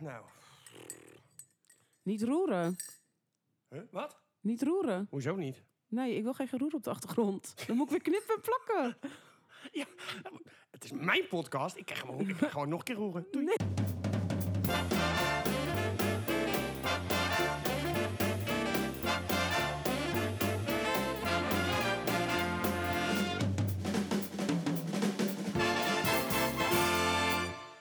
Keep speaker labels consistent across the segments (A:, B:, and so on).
A: nou?
B: Niet roeren.
A: Wat?
B: Niet roeren.
A: Hoezo niet?
B: Nee, ik wil geen geroer op de achtergrond. Dan moet ik weer knippen en plakken.
A: Ja, het is mijn podcast. Ik krijg hem ook- ik ga gewoon nog een keer roeren. Doei.
B: Nee.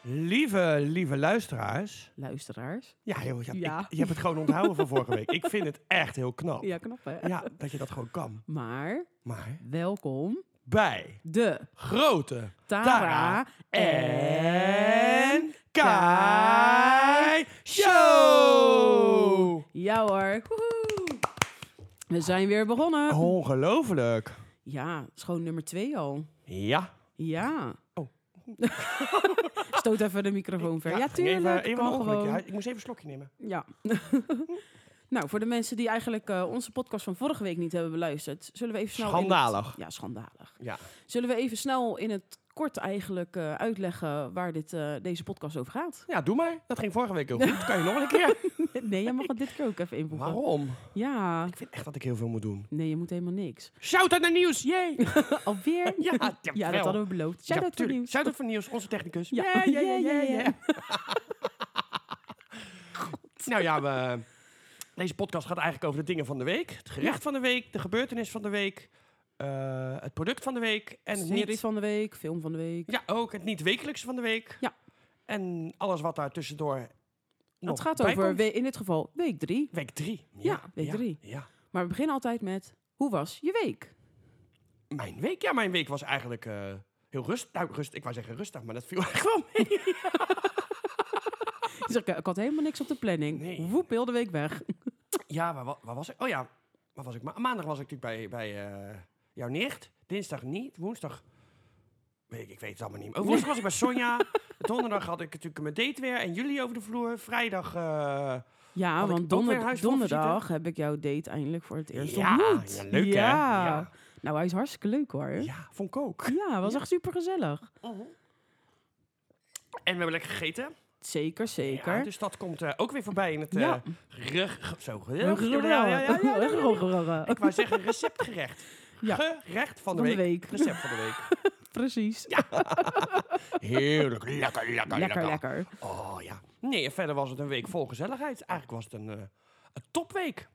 A: Lieve, lieve luisteraars.
B: Luisteraars.
A: Ja, joh, je, hebt-
B: Ja.
A: ik- je hebt het gewoon onthouden van vorige week. Ik vind het echt heel knap.
B: Ja, knap hè?
A: Ja, dat je dat gewoon kan.
B: Maar
A: Maar
B: welkom
A: bij
B: de
A: grote
B: Tara, en...
A: en Kai Show.
B: Ja hoor. Woehoe. We zijn weer begonnen.
A: Oh. Ongelooflijk.
B: Ja, schoon nummer twee al.
A: Ja.
B: Ja.
A: Oh.
B: Stoot even de microfoon ver. Ja,
A: ging
B: tuurlijk.
A: eh, Even, even
B: kan
A: een ongelukje.
B: gewoon.
A: Ja, ik moest even een slokje nemen.
B: Ja. nou, voor de mensen die eigenlijk eh, onze podcast van vorige week niet hebben beluisterd, zullen we even snel. in het-
A: Schandalig.
B: ja, schandalig.
A: Ja.
B: Zullen we even snel in het kort eigenlijk eh, uitleggen waar dit, eh, deze podcast over gaat?
A: ja, doe maar. Dat ging vorige week heel goed. Kan je nog een keer?
B: nee, jij mag het dit keer ook even invoegen.
A: Waarom?
B: Ja.
A: Ik vind echt dat ik heel veel moet doen.
B: Nee, je moet helemaal niks.
A: Shout-out naar Nieuws. Yay.
B: Alweer?
A: Ja,
B: ja,
A: jawel.
B: dat hadden we beloofd. Shout
A: Ja,
B: out voor
A: tuurlijk.
B: nieuws.
A: Shout-out voor Nieuws, onze technicus.
B: Ja.
A: Yeah, yeah, yeah,
B: Ja, ja,
A: yeah,
B: ja.
A: yeah. nou ja, we, deze podcast gaat eigenlijk over de dingen van de week. Het gerecht van de week, de gebeurtenis van de week, eh, het product van de week. En het
B: Serie
A: niet,
B: van de week, film van de week.
A: ja, ook het niet wekelijkse van de week.
B: Ja.
A: En alles wat daar tussendoor nog
B: het gaat
A: bij
B: over,
A: komt.
B: we- in dit geval, week drie.
A: week drie.
B: Ja, week drie.
A: Ja.
B: Maar we beginnen altijd met, hoe was je week?
A: Mijn week? Ja, mijn week was eigenlijk eh, heel rustig. Nou, rust, ik wou zeggen rustig, maar dat viel eigenlijk wel mee.
B: Ik, zeg, eh, ik had helemaal niks op de planning.
A: Nee.
B: Woep, heel de week weg.
A: Ja, waar, wa- waar was ik? Oh ja, waar was ik? Ma- maandag was ik natuurlijk bij, bij eh, jouw nicht. Dinsdag niet. Woensdag. Weet ik, ik weet het allemaal niet. meer. Oh, woensdag was ik bij Sonja. Donderdag had ik natuurlijk mijn date weer en jullie over de vloer. Vrijdag. eh,
B: Ja,
A: Had ik ook
B: want
A: weer
B: donder-
A: een huisvrouw
B: donderdag heb ik jouw date eindelijk voor het eerst
A: Ja,
B: ontmoet.
A: ja, leuk, hè?
B: Ja.
A: Ja.
B: Nou, hij is hartstikke leuk hoor. Ja,
A: ja, vond ik ook.
B: was echt super gezellig.
A: En we hebben lekker gegeten.
B: Zeker, zeker.
A: Ja, dus dat komt eh, ook weer voorbij in het.
B: Ja.
A: eh rug, zo.
B: Heel gezellig.
A: Ja, ja, ja, ja, ja.
B: Gezellig.
A: Ik wou zeggen receptgerecht.
B: Ja.
A: Gerecht van de,
B: Van de
A: week.
B: week.
A: Recept van de week.
B: Precies.
A: Heerlijk. Lekker, nou, lekker,
B: Lekker, lekker.
A: Oh ja. Nee, en verder was het een week vol gezelligheid. Eigenlijk was het een, eh, een topweek.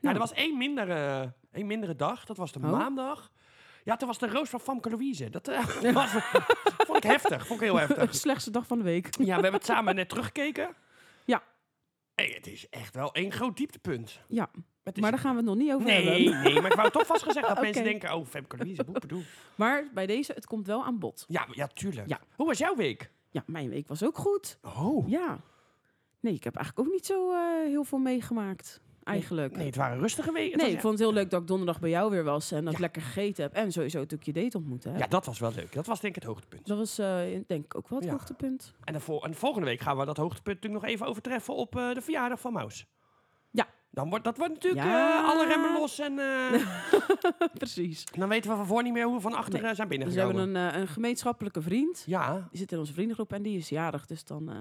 A: Ja, er was één mindere, één mindere dag. Dat was de
B: Nou. Oh.
A: maandag. Ja, toen was de roos van Famke Louise. Dat eh, was, vond ik heftig. Vond ik heel heftig.
B: Slechtste dag van de week.
A: Ja, we hebben het samen net teruggekeken.
B: Ja.
A: Hey, het is echt wel één groot dieptepunt.
B: Ja,
A: Het is-
B: maar daar gaan we het nog niet over
A: Nee,
B: hebben.
A: nee, maar ik wou toch vast gezegd dat mensen
B: Oké.
A: denken... Oh, Famke Louise, boepedoe.
B: Maar bij deze, het komt wel aan bod.
A: Ja, ja, tuurlijk.
B: Ja.
A: Hoe was jouw week?
B: Ja, mijn week was ook goed.
A: Oh.
B: Ja. Nee, ik heb eigenlijk ook niet zo eh, heel veel meegemaakt. Eigenlijk.
A: Nee, het waren een rustige weken.
B: Nee, ik vond het heel leuk dat ik donderdag bij jou weer was en dat ik lekker gegeten heb. En sowieso natuurlijk je date ontmoeten. hè.
A: Ja, dat was wel leuk. Dat was denk ik het hoogtepunt.
B: Dat was eh, denk ik ook wel het
A: Ja.
B: hoogtepunt.
A: En, de vol- en volgende week gaan we dat hoogtepunt natuurlijk nog even overtreffen op eh, de verjaardag van Maus.
B: Ja.
A: Dan wordt, dat wordt natuurlijk
B: Ja.
A: eh, alle remmen los en eh,
B: Precies.
A: dan weten we van voor niet meer hoe we van achter
B: Nee.
A: eh, zijn
B: Dus we hebben
A: binnengekomen.
B: een, eh, een gemeenschappelijke vriend.
A: Ja,
B: Die zit in onze vriendengroep en die is jarig. Dus dan eh,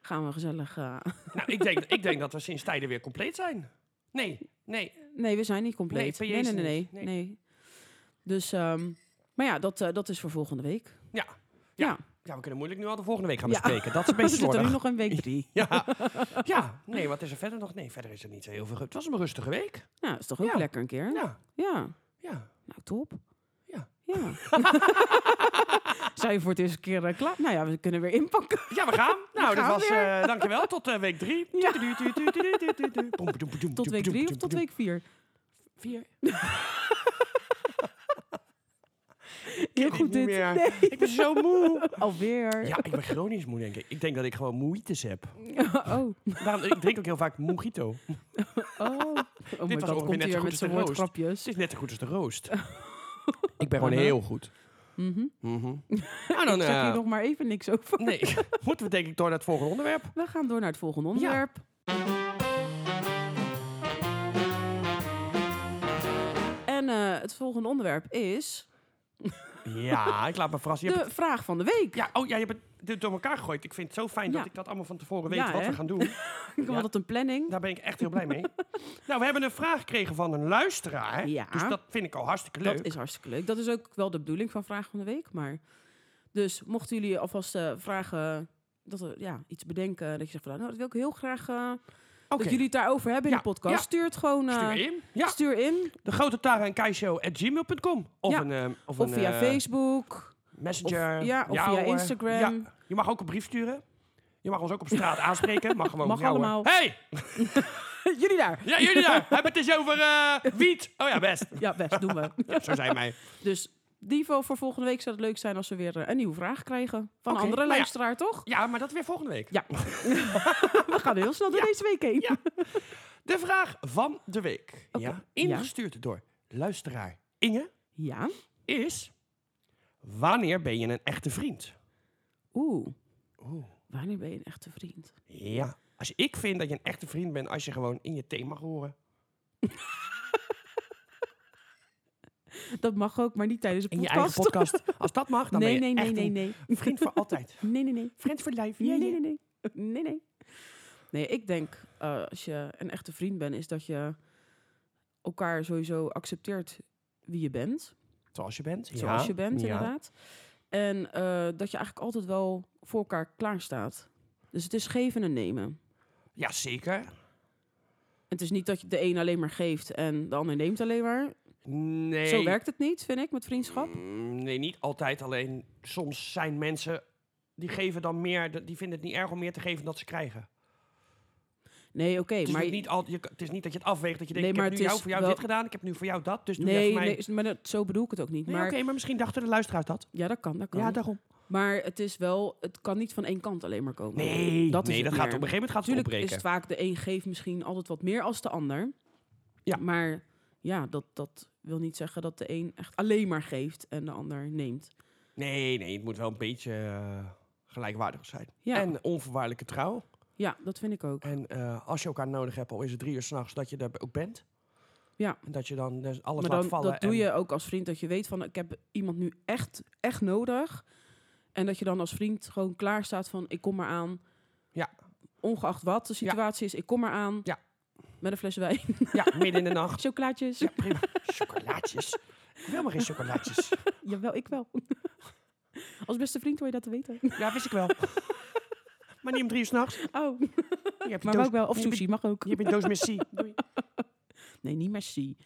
B: gaan we gezellig... eh,
A: nou ik denk, ik denk dat we sinds tijden weer compleet zijn. Nee, nee.
B: Nee, we zijn niet compleet.
A: Nee,
B: Nee,
A: PJ
B: nee,
A: is
B: nee,
A: er
B: nee,
A: niet. Nee.
B: nee. Dus, ehm, maar ja, dat, eh, dat is voor volgende week.
A: Ja. Ja,
B: Ja,
A: Ja, we kunnen moeilijk nu al de volgende week gaan
B: Ja.
A: bespreken. Dat is een
B: we
A: beetje
B: zitten nu
A: slordig.
B: nog in week drie.
A: Ja. ja, nee, wat is er verder nog? Nee, verder is er niet zo heel veel. ge- Het was een rustige week.
B: Nou, dat is toch ook
A: Ja.
B: lekker een keer? Ja.
A: Ja, ja.
B: Nou, top.
A: Ja.
B: Ja. Zijn we voor het eerste keer eh, klaar? Nou ja, we kunnen weer inpakken.
A: Ja, we gaan. Nou, dat
B: gaan
A: was...
B: weer.
A: eh dankjewel. Tot eh, week drie.
B: Ja.
A: Tot
B: Tot week drie of tot week vier?
A: vier?
B: Heel goed dit. Nee.
A: Ik ben zo moe.
B: Alweer.
A: Ja, ik ben chronisch moe, denk ik. Ik denk dat ik gewoon moeites heb.
B: Oh.
A: Daarom, ik drink ook heel vaak mojito.
B: Oh. Oh my
A: ongeveer
B: god,
A: net zo
B: komt
A: goed
B: hier
A: als
B: met zijn
A: de roast.
B: woordgrapjes.
A: Het is net zo goed als de roost. ik ben gewoon
B: Uh-huh.
A: heel goed.
B: Mhm.
A: Mhm. Nou, dan...
B: Ik zeg
A: eh,
B: hier nog maar even niks over.
A: nee, moeten we denk ik door naar het volgende onderwerp.
B: We gaan door naar het volgende onderwerp. En eh, het volgende onderwerp is
A: Ja, ik laat me verrassen. Je hebt
B: de vraag van de week.
A: Ja, oh ja, je hebt het- dit door elkaar gegooid. Ik vind het zo fijn
B: Ja.
A: dat ik dat allemaal van tevoren weet
B: Ja,
A: wat
B: hè?
A: we gaan doen.
B: Ik had het een planning.
A: Daar ben ik echt heel blij mee. nou, we hebben een vraag gekregen van een luisteraar.
B: Ja.
A: Dus dat vind ik al hartstikke leuk.
B: Dat is hartstikke leuk. Dat is ook wel de bedoeling van Vraag van de Week. Maar dus mochten jullie alvast eh, vragen, dat er, ja, iets bedenken, dat je zegt van nou, dat wil ik heel graag eh,
A: Oké,
B: dat jullie het daarover hebben in
A: Ja,
B: de podcast.
A: ja.
B: Stuur het gewoon. eh,
A: stuur in. Ja,
B: Stuur in.
A: de grote Tara en Kai Show at gmail.com. Of,
B: Ja.
A: een, eh, of,
B: Of
A: een,
B: via
A: eh,
B: Facebook.
A: Messenger.
B: Of- ja, of via
A: hoor.
B: Instagram.
A: Ja. Je mag ook een brief sturen. Je mag ons ook op straat aanspreken. Mag gewoon
B: Mag
A: jou, hoor.
B: allemaal.
A: Hey,
B: jullie daar.
A: ja, jullie daar. Hebben het eens over eh, wiet. Oh ja, best.
B: Ja, best, doen we.
A: Ja, Zo zijn wij.
B: Dus Divo, voor volgende week zou het leuk zijn als we weer eh, een nieuwe vraag krijgen. Van
A: Oké,
B: een andere
A: nou ja.
B: luisteraar, toch?
A: Ja, maar dat weer volgende week.
B: Ja. we gaan heel snel door deze week heen.
A: Ja. De vraag van de week.
B: Oké,
A: Ja, ingestuurd door luisteraar Inge
B: Ja.
A: is... Wanneer ben je een echte vriend?
B: Oeh,
A: Oeh.
B: wanneer ben je een echte vriend?
A: Ja. Als ik vind dat je een echte vriend bent als je gewoon in je thee mag horen.
B: Dat mag ook, maar niet tijdens een
A: In je
B: podcast.
A: eigen podcast. Als dat mag, dan
B: nee,
A: ben
B: nee,
A: je
B: nee,
A: echt
B: nee,
A: een
B: nee.
A: vriend voor altijd.
B: Nee, nee, nee.
A: Vriend voor lijf.
B: Nee, nee, nee, nee. Nee, nee. Nee, ik denk eh, als je een echte vriend bent, is dat je elkaar sowieso accepteert wie je bent.
A: Zoals je bent. ja.
B: Zoals je bent,
A: Ja.
B: inderdaad. En eh, dat je eigenlijk altijd wel voor elkaar klaarstaat. Dus het is geven en nemen.
A: Ja, zeker.
B: Het is niet dat je de een alleen maar geeft en de ander neemt alleen maar.
A: Nee.
B: Zo werkt het niet, vind ik, met vriendschap.
A: Mm, Nee, niet altijd. Alleen soms zijn mensen die geven dan meer. de- Die vinden het niet erg om meer te geven dan dat ze krijgen.
B: Nee, oké,
A: Het is,
B: maar...
A: natuurlijk niet al, Dus je, het is niet dat je het afweegt. Dat je denkt:
B: Nee,
A: ik
B: maar
A: heb nu
B: het
A: jou
B: is
A: voor jou
B: wel-
A: dit gedaan. Ik heb nu voor jou dat. Dus doe jij
B: nee,
A: voor mij.
B: nee, maar dat, zo bedoel ik het ook niet.
A: Nee,
B: maar,
A: oké, maar misschien dachten de luisteraar dat.
B: Ja, dat kan, dat kan.
A: Ja, daarom.
B: Maar het is wel, het kan niet van één kant alleen maar komen.
A: Nee,
B: dat,
A: dat,
B: is
A: nee,
B: het
A: dat gaat op
B: meer.
A: een gegeven moment gaat het
B: Natuurlijk
A: opbreken.
B: is het vaak de een geeft misschien altijd wat meer als de ander.
A: Ja.
B: Maar ja, dat, dat wil niet zeggen dat de een echt alleen maar geeft en de ander neemt.
A: Nee, nee, het moet wel een beetje eh, gelijkwaardig zijn.
B: Ja.
A: En onvoorwaardelijke trouw.
B: Ja, dat vind ik ook.
A: En eh, als je elkaar nodig hebt, al is het drie uur s'nachts, dat je daar ook bent.
B: Ja.
A: En dat je dan dus alles
B: maar
A: laat
B: dan,
A: vallen.
B: dat doe
A: en-
B: je ook als vriend, dat je weet van ik heb iemand nu echt, echt nodig. En dat je dan als vriend gewoon klaar staat van ik kom maar aan.
A: Ja.
B: Ongeacht wat de situatie is, ik kom maar aan.
A: Ja.
B: Met een fles wijn,
A: Ja, midden in de nacht.
B: chocolaatjes.
A: Ja, prima. Chocolaatjes. Ik wil maar geen chocolaatjes.
B: Jawel, ik wel. Als beste vriend wil je dat te weten.
A: Ja, wist ik wel. Maar niet om drie uur s'nachts.
B: Oh,
A: Je hebt
B: maar
A: doos,
B: ook wel. Of
A: je hebt-
B: sushi, mag ook.
A: Je hebt een doos missie. Doei.
B: Nee, niet merci.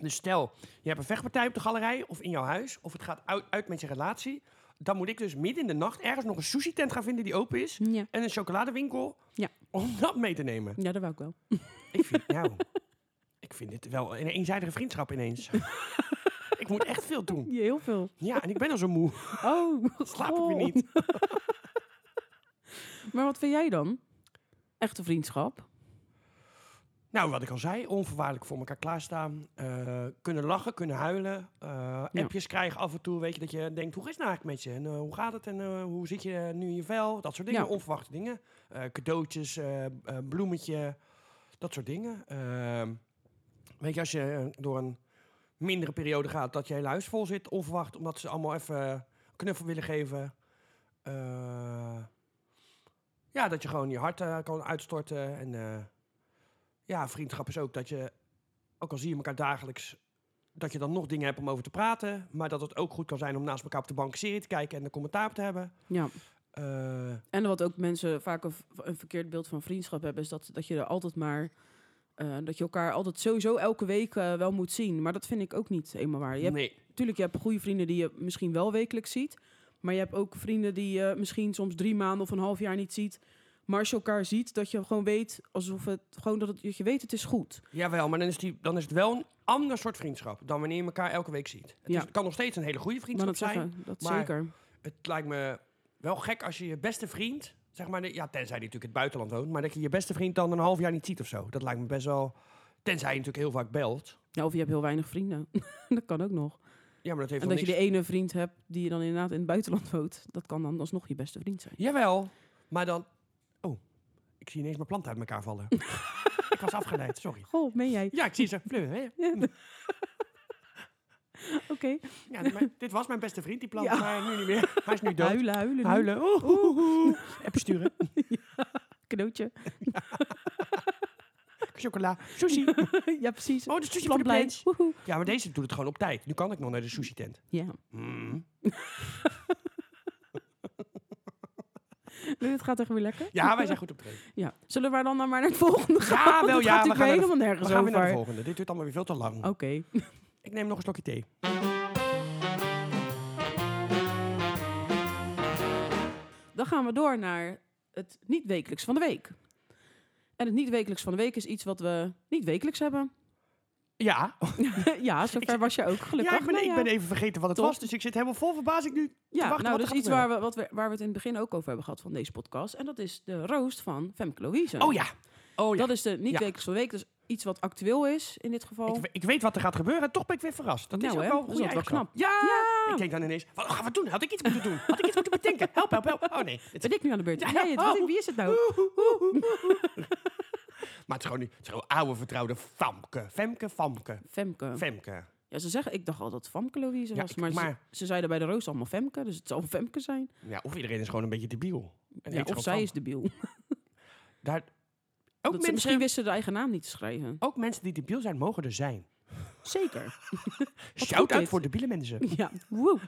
A: Dus stel, je hebt een vechtpartij op de galerij of in jouw huis. Of het gaat uit, uit met je relatie. Dan moet ik dus midden in de nacht ergens nog een sushi tent gaan vinden die open is.
B: Ja.
A: En een chocoladewinkel.
B: Ja.
A: Om dat mee te nemen.
B: ja, dat wou ik wel.
A: Ik vind, nou, ik vind dit wel een eenzijdige vriendschap ineens. ik moet echt veel doen.
B: Ja, heel veel.
A: Ja, en ik ben al zo moe.
B: Oh,
A: Slaap ik
B: goh.
A: weer niet.
B: Maar wat vind jij dan? Echte vriendschap?
A: Nou, wat ik al zei, onvoorwaardelijk voor elkaar klaarstaan. eh, kunnen lachen, kunnen huilen. eh,
B: Ja.
A: Appjes krijgen af en toe, weet je, dat je denkt... hoe is het nou eigenlijk met je? En eh, hoe gaat het? En eh, hoe zit je eh, nu in je vel? Dat soort dingen,
B: Ja.
A: onverwachte dingen. Eh, cadeautjes, eh, eh, bloemetje, dat soort dingen. Ehm, weet je, als je eh, door een mindere periode gaat... dat je hele huis vol zit, onverwacht... omdat ze allemaal even een knuffel willen geven. Eh, ja, dat je gewoon je hart eh, kan uitstorten en... eh, ja, vriendschap is ook dat je, ook al zie je elkaar dagelijks, dat je dan nog dingen hebt om over te praten. Maar dat het ook goed kan zijn om naast elkaar op de bank een serie te kijken en een commentaar op te hebben.
B: Ja.
A: Eh,
B: En wat ook mensen vaak een, v- een verkeerd beeld van vriendschap hebben, is dat, dat je er altijd maar. eh, dat je elkaar altijd sowieso elke week eh, wel moet zien. Maar dat vind ik ook niet eenmaal waar. Je hebt,
A: nee.
B: Tuurlijk, je hebt goede vrienden die je misschien wel wekelijks ziet. Maar je hebt ook vrienden die je misschien soms drie maanden of een half jaar niet ziet. Maar als je elkaar ziet, dat je gewoon weet alsof het gewoon dat, het, dat je weet het is goed.
A: Jawel, maar dan is, die, dan is het wel een ander soort vriendschap dan wanneer je elkaar elke week ziet. Het
B: Ja.
A: is- het kan nog steeds een hele goede
B: Ik wou
A: vriendschap
B: net
A: zijn.
B: zeggen, dat
A: maar-
B: zeker.
A: Het lijkt me wel gek als je je beste vriend, zeg maar, de- ja, tenzij die natuurlijk in het buitenland woont, maar dat je je beste vriend dan een half jaar niet ziet of zo. Dat lijkt me best wel, tenzij je natuurlijk heel vaak belt.
B: Ja, of je hebt heel weinig vrienden. dat kan ook nog.
A: Ja, maar dat heeft
B: En
A: wel
B: dat je
A: niks
B: die ene vriend hebt die je dan inderdaad in het buitenland woont. Dat kan dan alsnog je beste vriend zijn.
A: Jawel, maar dan... Oh, ik zie ineens mijn planten uit elkaar vallen. ik was afgeleid, sorry.
B: Goh, meen jij?
A: Ja, ik zie ze. Blub, hè?
B: Oké.
A: Ja, dit- mijn- dit was mijn beste vriend, die plant.
B: Ja.
A: Maar nu niet meer. Hij is nu dood.
B: Huilen, huilen. nu.
A: Huilen. Oeh, oeh, oeh. App sturen.
B: Cadeautje.
A: Chocola. Sushi.
B: ja, precies.
A: Oh, de sushi van
B: Van
A: de
B: blij.
A: plans.
B: Woehoe.
A: Ja, maar deze doet het gewoon op tijd. Nu kan ik nog naar de sushi tent.
B: Ja.
A: Mm.
B: Nee, dit gaat echt weer lekker.
A: Ja, wij zijn goed op train.
B: Ja. Zullen we dan nou maar naar het volgende gaan?
A: Ja,
B: Want
A: wel
B: het
A: ja.
B: gaat
A: We
B: natuurlijk
A: gaan, naar de,
B: helemaal
A: we
B: nergens
A: gaan weer
B: over.
A: naar de volgende. Dit duurt allemaal weer veel te lang.
B: Oké.
A: Ik neem nog een slokje thee.
B: Dan gaan we door naar het niet-wekelijks van de week. En het niet-wekelijks van de week is iets wat we niet wekelijks hebben.
A: Ja.
B: ja, zover was je ook gelukkig.
A: Oh, ja, ik ben,
B: Nou
A: ik
B: ja.
A: ben even vergeten wat het
B: Top.
A: was. Dus ik zit helemaal vol verbazing nu.
B: Ja,
A: wachten, wat
B: nou, dat
A: gaat
B: is iets waar
A: gebeuren?
B: we, wat we, waar we het in het begin ook over hebben gehad van deze podcast. En dat is de roost van Femke Louise.
A: Oh ja. Oh ja.
B: Dat is de niet-wekelijks van de week. Dus iets wat actueel is in dit geval.
A: Ik, we- ik weet wat er gaat gebeuren en toch ben ik weer verrast. Dat
B: Nou,
A: is ook
B: hè?
A: al
B: Dat is altijd wel
A: Ja!
B: Ja!
A: Ik denk dan ineens, wat gaan we doen? Had ik iets moeten doen? Had ik iets moeten bedenken? Help, help, help. Oh nee. Het is-
B: Ben ik nu aan de beurt?
A: Ja.
B: Nee, het was-
A: Oh.
B: wie is het nou?
A: Maar het is gewoon, niet- het is gewoon oude vertrouwde Famke. Femke, Famke.
B: Femke.
A: Femke.
B: Ja, ze zeggen, ik dacht al dat het Famke Louise
A: Ja,
B: was.
A: ik-
B: maar ze,
A: maar-
B: ze zeiden bij de roost allemaal Femke, dus het zal Femke zijn.
A: Ja, of iedereen is gewoon een beetje debiel. En
B: Ja,
A: heet
B: of
A: gewoon
B: zij
A: Famke.
B: is debiel.
A: Daar, ook,
B: Dat ze,
A: mensen,
B: misschien wisten ze de eigen naam niet te schrijven.
A: ook mensen die debiel zijn, mogen er zijn.
B: Zeker. goed
A: Shout-out
B: dit.
A: voor debiele mensen.
B: ja, woe.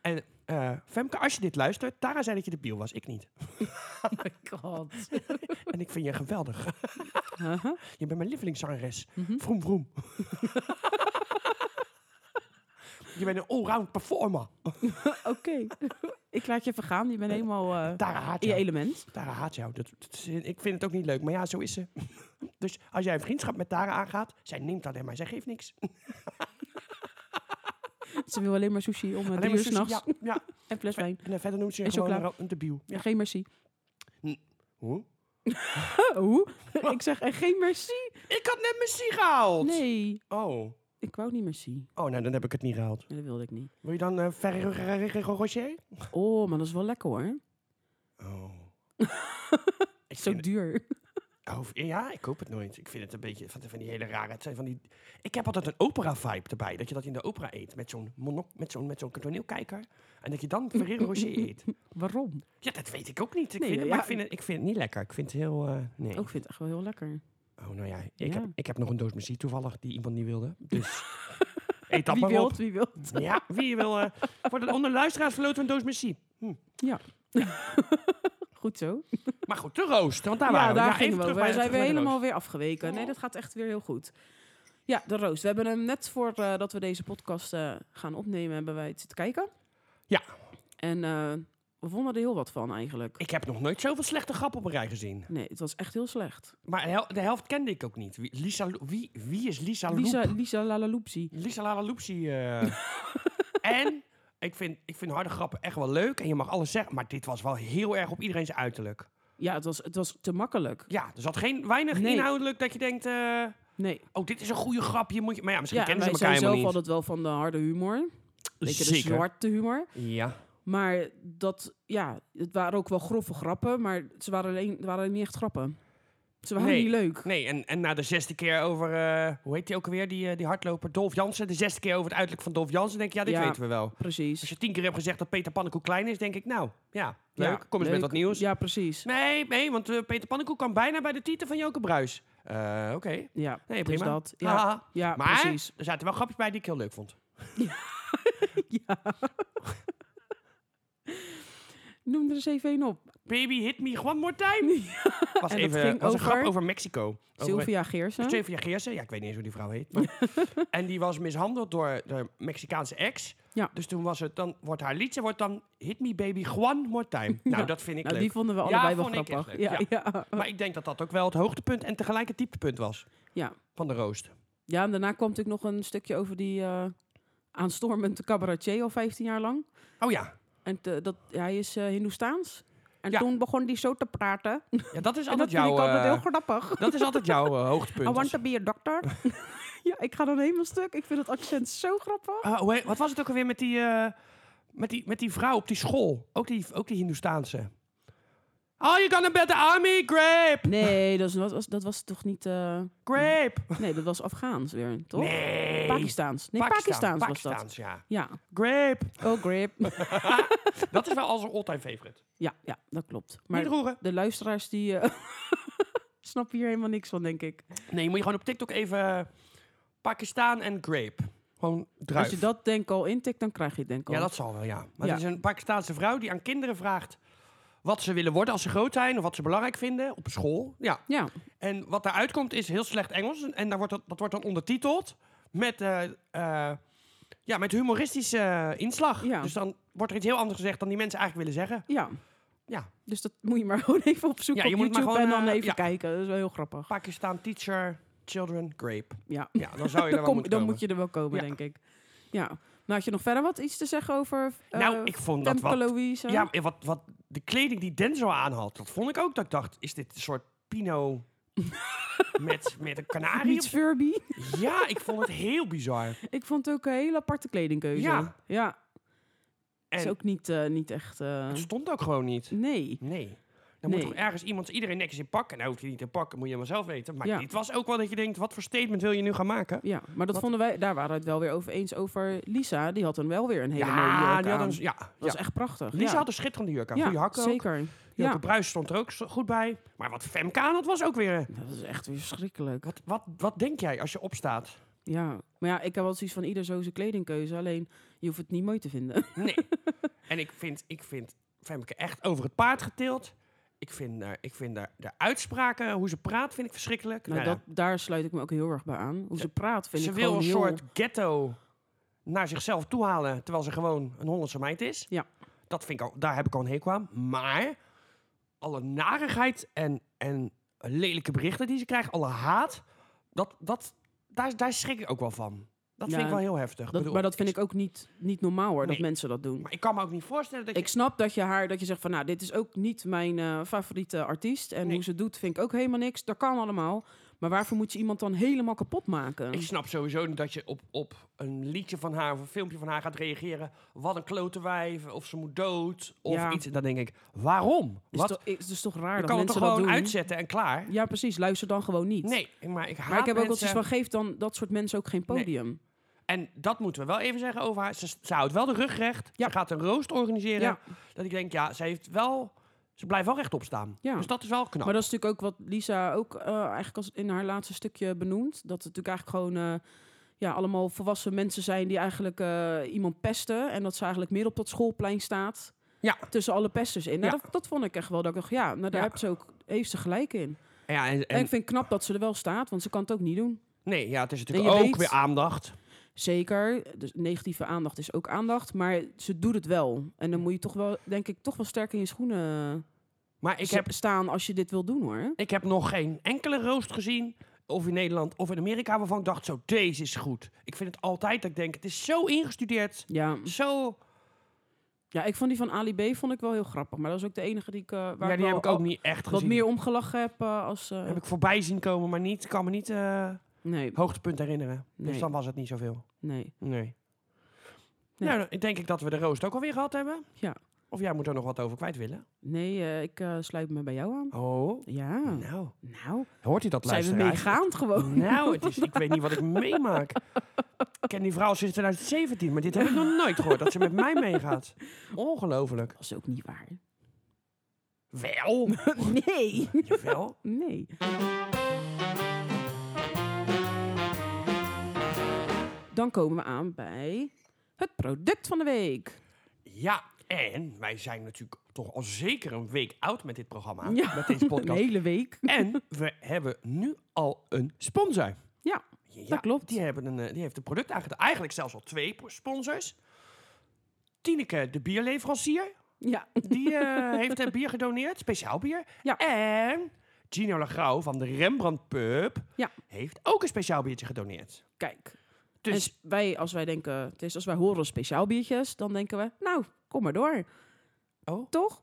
A: En eh, Femke, als je dit luistert, Tara zei dat je debiel was. Ik niet.
B: Oh my god.
A: En ik vind je geweldig.
B: Haha.
A: Je bent mijn lievelingszangeres.
B: Uh-huh. Mhm.
A: Vroom, vroom. je bent een allround performer.
B: Oké. ik laat je even gaan, je bent helemaal eh,
A: Tara haat
B: in je
A: jou.
B: element.
A: Tara haat jou. Dat, dat is- ik vind het ook niet leuk, maar ja, zo is ze. dus als jij een vriendschap met Tara aangaat, zij neemt dat maar zij geeft niks.
B: Ze wil alleen maar sushi om eh,
A: Alleen
B: drie
A: maar
B: uur
A: sushi,
B: s'nachts
A: Ja, ja.
B: en fles wijn.
A: En eh, verder noemt ze je
B: En
A: gewoon
B: chocola.
A: een, een debiel.
B: En
A: Ja.
B: geen merci.
A: Hoe? Oh.
B: Hoe? Oh. ik zeg en geen merci.
A: Ik had net mijn sigaal. gehaald.
B: Nee,
A: Oh.
B: ik wou niet merci.
A: Oh, nou, dan heb ik het niet gehaald.
B: Nee, dat wilde ik niet.
A: Wil je dan uh, Ferrero Rocher?
B: Oh, maar dat is wel lekker hoor.
A: Oh. ik
B: Zo
A: vind
B: duur.
A: het- oh, ja, ik koop het nooit. Ik vind het een beetje van, van die hele rare... Het zijn van die, ik heb altijd een opera-vibe erbij. Dat je dat in de opera eet. Met zo'n monok, met zo'n met zo'n toneelkijker. En dat je dan Ferrero Rocher eet.
B: Waarom?
A: Ja, dat weet ik ook niet. Ik
B: Nee,
A: vind, het,
B: ja,
A: maar
B: ja.
A: ik, vind het, ik vind het niet lekker. Ik vind het heel... eh, nee.
B: Ook vind ik echt wel heel lekker.
A: Oh, nou ja. Ik,
B: Ja.
A: Heb, ik heb nog een doos muziek toevallig die iemand niet wilde. Dus eet dat
B: wie
A: maar op.
B: wilt, wie wilt.
A: Ja, wie wil... eh voor de onder luisteraars verloten we een doos merci.
B: Goed zo.
A: Maar goed, de roost. Want daar
B: ja,
A: waren we.
B: daar
A: Nou, Ja,
B: gingen
A: even
B: we
A: terug bij
B: over. Wij
A: de- terug
B: zijn weer
A: bij de
B: helemaal weer afgeweken. Nee, dat gaat echt weer heel goed. Ja, de roost. We hebben hem net voordat we deze podcast eh, gaan opnemen, hebben wij het zitten kijken.
A: Ja.
B: En eh, we vonden er heel wat van eigenlijk.
A: Ik heb nog nooit zoveel slechte grappen op een rij gezien.
B: Nee, het was echt heel slecht.
A: Maar de hel- de helft kende ik ook niet. Wie, Lisa, Lo- wie, wie is Lisa Loep?
B: Lisa,
A: Lisa,
B: Lisa Lalaloopsie.
A: Lalaloopsie. eh. en ik vind, ik vind harde grappen echt wel leuk. En je mag alles zeggen. Maar dit was wel heel erg op iedereen zijn uiterlijk.
B: Ja, het was, het was te makkelijk.
A: Ja, er zat geen, weinig
B: Nee.
A: inhoudelijk dat je denkt... eh,
B: Nee.
A: oh, dit is een goede grap. Hier moet je... Maar ja, misschien
B: Ja, en
A: kennen
B: wij
A: ze elkaar
B: zijn
A: helemaal
B: zelf
A: niet.
B: altijd wel van de harde humor. Weet je, de
A: Zeker.
B: zwarte humor.
A: Ja.
B: Maar dat, ja, het waren ook wel grove grappen, maar ze waren alleen, het waren niet echt grappen. Ze waren
A: Nee.
B: niet leuk.
A: Nee, en, en na de zesde keer over... eh, hoe heet die ook alweer, die, eh, die hardloper? Dolf Jansen. De zesde keer over het uiterlijk van Dolf Jansen. denk je, ja, dit
B: Ja.
A: weten we wel. Als
B: Precies.
A: je tien keer hebt gezegd dat Peter Pannenkoek klein is, denk ik, nou, ja, leuk.
B: Ja,
A: Kom eens met
B: leuk.
A: wat nieuws.
B: Ja, precies.
A: Nee, nee, want eh, Peter Pannenkoek kan bijna bij de titel van Joke Bruis. Eh, Oké,
B: Ja,
A: nee,
B: dus
A: prima.
B: dat. Ja,
A: Haha.
B: ja
A: maar
B: precies.
A: er zaten wel grapjes bij die ik heel leuk vond.
B: Noem er eens even één op.
A: Baby, hit me one more time. Was,
B: En dat
A: even,
B: ging
A: was een grap
B: over-
A: over Mexico. Over-
B: Sylvia Geersen.
A: Sylvia Geersen, ja, ik weet niet eens hoe die vrouw heet. maar- en die was mishandeld door de Mexicaanse ex.
B: Ja.
A: Dus toen was het, dan wordt haar liedje wordt dan Hit Me Baby One More Time. Nou,
B: Ja.
A: dat vind ik
B: nou,
A: leuk.
B: die vonden we
A: Ja,
B: allebei wel
A: vond ik echt
B: grappig.
A: leuk,
B: Ja, ja.
A: Maar ik denk dat dat ook wel het hoogtepunt en tegelijk het dieptepunt was
B: Ja.
A: van de roost.
B: ja, en daarna kwam natuurlijk nog een stukje over die eh, aanstormende cabaretier al 15 jaar lang.
A: Oh ja,
B: En te- dat, hij is eh Hindoestaans. En
A: Ja.
B: toen begon hij zo te praten.
A: ja dat is
B: en dat
A: altijd
B: vind ik
A: jouw,
B: altijd
A: eh,
B: heel grappig.
A: dat is altijd jouw eh,
B: I
A: hoogtepunt.
B: want
A: Als-
B: to be a doctor. ja, ik ga dan helemaal stuk. Ik vind het accent zo grappig.
A: Ah, hoe heet- wat was het ook alweer met die, eh, met, die, met die vrouw op die school? Ook die, ook die Hindoestaanse. Oh, you gonna bet the army? Grape!
B: Nee, dat, is- dat was, dat was toch niet... eh,
A: Grape!
B: nee, dat was Afghaans weer, toch?
A: Nee!
B: Pakistaans. Nee,
A: Pakistan,
B: Pakistaans was dat.
A: Pakistaans, ja.
B: Ja.
A: Grape!
B: Oh, grip.
A: Dat is wel als een all-time favorite.
B: ja, ja, dat klopt. Maar
A: Niet roeren.
B: de luisteraars die eh, snappen hier helemaal niks van, denk ik.
A: Nee, moet je gewoon op TikTok even eh, Pakistan en grape. Gewoon druif.
B: Als je dat denk al intikt, dan krijg je het denk al.
A: Ja, dat zal wel, ja. Maar
B: Ja.
A: het is een Pakistaanse vrouw die aan kinderen vraagt wat ze willen worden als ze groot zijn of wat ze belangrijk vinden op school. Ja.
B: Ja,
A: En wat daaruit komt is heel slecht Engels. En daar wordt dat, dat wordt dan ondertiteld met, eh, eh, ja, met humoristische eh, inslag.
B: Ja.
A: Dus dan wordt er iets heel anders gezegd dan die mensen eigenlijk willen zeggen.
B: ja.
A: Ja.
B: Dus dat moet je maar gewoon even opzoeken
A: Ja, je
B: op
A: moet maar
B: YouTube en
A: gewoon,
B: dan
A: eh,
B: even
A: ja.
B: kijken. Dat is wel heel grappig.
A: Pakistan teacher, children, grape.
B: Ja,
A: Ja, dan zou je
B: dan,
A: er wel
B: kom-
A: moeten
B: dan
A: komen.
B: moet je er wel komen,
A: Ja.
B: denk ik. Ja. Nou, had je nog verder wat iets te zeggen over eh
A: Nou, ik vond dat
B: Femke
A: wat...
B: Louise?
A: Ja, wat, wat de kleding die Denzel aan had, dat vond ik ook. Dat ik dacht, is dit een soort pino met, met een kanarie?
B: Niet
A: of
B: Furby.
A: zo? Ja, ik vond het heel bizar.
B: Ik vond het ook een hele aparte kledingkeuze.
A: Ja.
B: Ja, is
A: En
B: ook niet, eh, niet echt... eh,
A: het stond ook gewoon niet.
B: nee.
A: Nee. Dan
B: Nee.
A: moet toch ergens iemand iedereen netjes in pakken. Nou, hoef je niet in pakken, moet je maar zelf weten. Maar
B: Ja.
A: dit was ook wel dat je denkt, wat voor statement wil je nu gaan maken?
B: Ja, maar dat
A: Wat-
B: vonden wij... Daar waren we het wel weer over eens over Lisa. Die had dan wel weer een hele mooie
A: ja,
B: jurk
A: die had
B: aan.
A: een, ja,
B: Dat
A: ja.
B: is echt prachtig.
A: Lisa
B: ja.
A: had een schitterende jurk aan.
B: ja,
A: Goeie hakken ook.
B: zeker.
A: Joke
B: Ja.
A: Bruis stond er ook zo- goed bij. Maar wat Femke aan had, was ook weer... eh,
B: Dat is echt weer verschrikkelijk.
A: Wat, wat, wat denk jij als je opstaat?
B: Ja, maar ja, ik heb wel zoiets van ieder zo zijn kledingkeuze. Alleen, je hoeft het niet mooi te vinden.
A: Nee. en ik vind, ik vind Femke echt over het paard getild. Ik vind, haar- ik vind haar- de, uitspraken, hoe ze praat, vind ik verschrikkelijk.
B: Nou,
A: Nou ja,
B: dat, daar sluit ik me ook heel erg bij aan. Hoe
A: Ze-
B: ze praat vind
A: ze
B: ik
A: wil
B: gewoon
A: een
B: heel...
A: soort ghetto naar zichzelf toe halen, terwijl ze gewoon een Hollandse meid is.
B: Ja.
A: Dat vind ik al, daar heb ik al een hekel aan. Maar alle narigheid en, en lelijke berichten die ze krijgt, alle haat, dat, dat, daar, daar schrik ik ook wel van. Dat
B: Ja,
A: vind ik wel heel heftig.
B: Dat,
A: bedoel,
B: maar dat vind ik ook niet, niet normaal hoor, dat
A: Nee.
B: mensen dat doen.
A: Maar ik kan me ook niet voorstellen dat je...
B: Ik snap dat je haar, dat je zegt van nou, dit is ook niet mijn eh, favoriete artiest. En
A: Nee.
B: hoe ze het doet vind ik ook helemaal niks. Dat kan allemaal. Maar waarvoor moet je iemand dan helemaal kapot maken?
A: Ik snap sowieso niet dat je op, op een liedje van haar of een filmpje van haar gaat reageren. Wat een klote wijf, of ze moet dood, of
B: Ja.
A: iets. Dan denk ik, waarom?
B: is
A: Wat?
B: toch- is dus toch raar
A: je
B: dat
A: kan het
B: mensen
A: toch
B: dat
A: gewoon
B: doen?
A: uitzetten en klaar?
B: Ja, precies. Luister dan gewoon niet.
A: Nee, maar ik haat
B: Maar ik heb ook wel
A: mensen.
B: zoiets van, geef dan dat soort mensen ook geen
A: Nee.
B: podium.
A: En dat moeten we wel even zeggen over haar. Ze, ze houdt wel de rug recht.
B: Ja.
A: Ze gaat een roost organiseren.
B: Ja.
A: Dat ik denk, ja, ze heeft wel... Ze blijft wel rechtop staan.
B: Ja.
A: Dus dat is wel knap.
B: Maar dat is natuurlijk ook wat Lisa ook eh, eigenlijk als in haar laatste stukje benoemt. Dat het natuurlijk eigenlijk gewoon eh, ja, allemaal volwassen mensen zijn die eigenlijk eh, iemand pesten. En dat ze eigenlijk midden op dat schoolplein staat.
A: Ja.
B: Tussen alle pesters in. Nou,
A: Ja.
B: dat, dat vond ik echt wel. Dat ik dacht, ja, nou, daar
A: Ja.
B: heeft, ze ook, heeft ze gelijk in.
A: ja, en,
B: En,
A: en-
B: ik vind het knap dat ze er wel staat, want ze kan het ook niet doen.
A: nee, ja, het is
B: je
A: natuurlijk ook
B: weet-
A: weer aandacht.
B: Zeker, dus negatieve aandacht is ook aandacht, maar ze doet het wel. En dan moet je toch wel, denk ik, toch wel sterk in je schoenen
A: Maar ik
B: ik
A: heb,
B: staan als je dit wil doen hoor.
A: ik heb nog geen enkele roost gezien. Of in Nederland of in Amerika. Waarvan ik dacht, zo, deze is goed. Ik vind het altijd dat ik denk, het is zo ingestudeerd.
B: Ja.
A: Zo...
B: Ja, ik vond die van Ali B vond ik wel heel grappig. Maar dat was ook de enige die ik, eh, waar
A: ja, die
B: wel
A: heb ik ook
B: al-
A: niet echt
B: wat
A: gezien.
B: meer omgelachen heb eh, als... eh,
A: Heb ik voorbij zien komen, maar niet, kan me niet eh
B: Nee,
A: hoogtepunt herinneren. Dus
B: Nee.
A: dan was het niet zoveel.
B: nee.
A: Nee.
B: Nee.
A: Nou, dan denk ik dat we de roost ook alweer gehad hebben.
B: Ja.
A: Of jij moet er nog wat over kwijt willen.
B: Nee, eh, ik eh, sluit me bij jou aan.
A: Oh.
B: Ja,
A: Nou,
B: nou.
A: hoort u dat
B: Zijn we
A: luisteraar?
B: meegaand gewoon.
A: Nou, het is, ik weet niet wat ik meemaak. Ik ken die vrouw sinds 2017, maar dit heb ik nog nooit gehoord. Dat ze met mij meegaat. Ongelooflijk.
B: Dat is ook niet waar.
A: Wel.
B: Nee.
A: Jawel.
B: Nee. Dan komen we aan bij het product van de week.
A: Ja, en wij zijn natuurlijk toch al zeker een week oud met dit programma.
B: Ja,
A: Met deze
B: Een
A: podcast.
B: hele week.
A: En we hebben nu al een sponsor.
B: Ja, dat klopt.
A: Die, hebben een, eh, die heeft een product aangedragen. Eigenlijk zelfs al twee pro- sponsors. Tineke, de bierleverancier,
B: Ja,
A: die eh, heeft eh, bier gedoneerd. Speciaal bier.
B: Ja.
A: En Gino Lagrau van de Rembrandt Pub
B: Ja.
A: heeft ook een speciaal biertje gedoneerd.
B: kijk.
A: Dus
B: En s- wij, als wij denken, het is als wij horen speciaal biertjes, dan denken we, Oh. nou, kom maar door.
A: Oh.
B: Toch?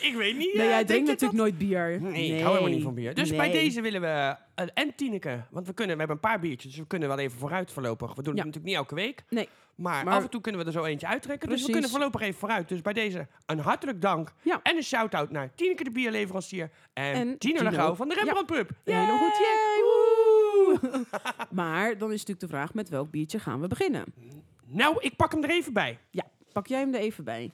A: Ik weet niet.
B: Nee,
A: eh,
B: jij
A: denk
B: drinkt
A: je
B: natuurlijk nooit bier.
A: dat? Nee, ik hou helemaal niet van bier. Dus bij
B: Nee.
A: deze willen we... eh, en Tineke. Want we, kunnen, we hebben een paar biertjes, dus we kunnen wel even vooruit voorlopig. We doen
B: Ja.
A: het natuurlijk niet elke week.
B: Nee.
A: Maar,
B: Maar-
A: af en toe kunnen we er zo eentje uittrekken. Dus we
B: Precies.
A: kunnen voorlopig even vooruit. Dus bij deze een hartelijk dank.
B: Ja.
A: En een shout-out naar Tineke de bierleverancier. En,
B: En
A: Tino
B: Tino.
A: de Gouw van de Rembrandt Pub.
B: Helemaal goed, yay! woehoe. maar dan is natuurlijk de vraag met welk biertje gaan we beginnen?
A: Nou, ik pak hem er even bij.
B: Ja, pak jij hem er even bij.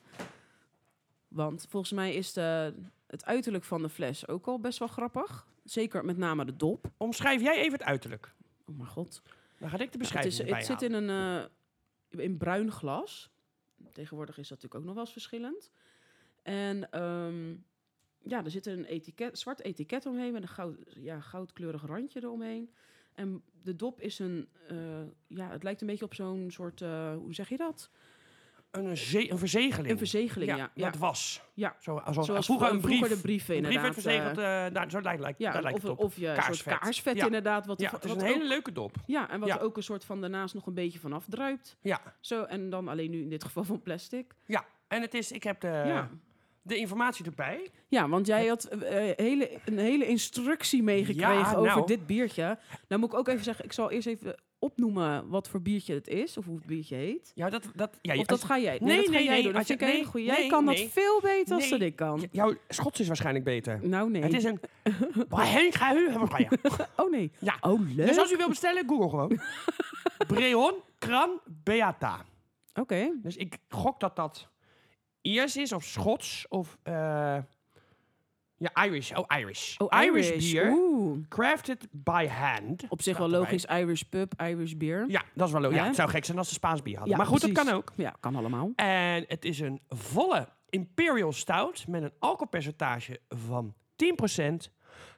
B: Want volgens mij is de, het uiterlijk van de fles ook al best wel grappig. Zeker met name de dop.
A: Omschrijf jij even het uiterlijk.
B: Oh mijn god.
A: Dan ga ik de
B: Ja, het
A: beschrijving
B: is,
A: erbij
B: het zit in een eh, in bruin glas. Tegenwoordig is dat natuurlijk ook nog wel eens verschillend. En ehm, ja, er zit een etiket, zwart etiket omheen met een goud, ja, goudkleurig randje eromhalen. En de dop is een, eh, ja, het lijkt een beetje op zo'n soort, eh, hoe zeg je dat?
A: halen. Een, ze- een verzegeling.
B: Een verzegeling, ja. ja,
A: Dat was.
B: Ja.
A: Zo, zoals,
B: Zoals
A: vroeger een brief.
B: de brieven
A: Een brief
B: inderdaad.
A: werd verzegeld.
B: eh,
A: eh, nou, zo lijkt, lijkt, daar
B: ja,
A: lijkt
B: of,
A: het op.
B: of je een soort
A: Kaarsvet.
B: kaarsvet
A: Ja.
B: inderdaad. Wat,
A: ja,
B: wat
A: het is een
B: ook-
A: hele leuke dop.
B: ja, en wat
A: ja.
B: ook een soort van daarnaast nog een beetje vanaf druipt.
A: Ja.
B: Zo, en dan alleen nu in dit geval van plastic.
A: Ja. En het is, ik heb de,
B: ja.
A: de informatie erbij.
B: ja, want jij had eh, hele, een hele instructie meegekregen
A: Ja, nou.
B: over dit biertje. Nou moet ik ook even zeggen, ik zal eerst even opnoemen wat voor biertje het is. Of hoe het biertje heet.
A: Ja, dat, dat, ja,
B: Of dat
A: als-
B: ga jij, nee,
A: Nee,
B: dat ga
A: nee,
B: jij
A: nee,
B: doen. Dat
A: als je-
B: vind ik een
A: nee,
B: hele goeie. Jij
A: nee,
B: kan
A: nee.
B: dat veel beter als
A: Nee.
B: dat ik kan.
A: j- jouw Schots is waarschijnlijk beter.
B: Nou nee.
A: Het is een... Waarheen ga je? Waar ga je?
B: Oh nee.
A: Ja.
B: Oh leuk.
A: Dus als u wil bestellen, Google gewoon. Breon Cran Beata.
B: Oké.
A: Dus ik gok dat dat Iers is of Schots of... eh, ja, Irish. Oh, Irish.
B: Oh,
A: Irish, bier.
B: Oeh.
A: Crafted by hand.
B: Op zich wel
A: Staat erbij.
B: logisch, Irish pub, Irish beer.
A: Ja, dat is wel leuk. Ja,
B: Hè?
A: het zou gek zijn als ze Spaans bier hadden. maar goed, dat
B: precies.
A: kan ook.
B: Ja, kan allemaal.
A: En het is een volle Imperial Stout met een alcoholpercentage van 10%.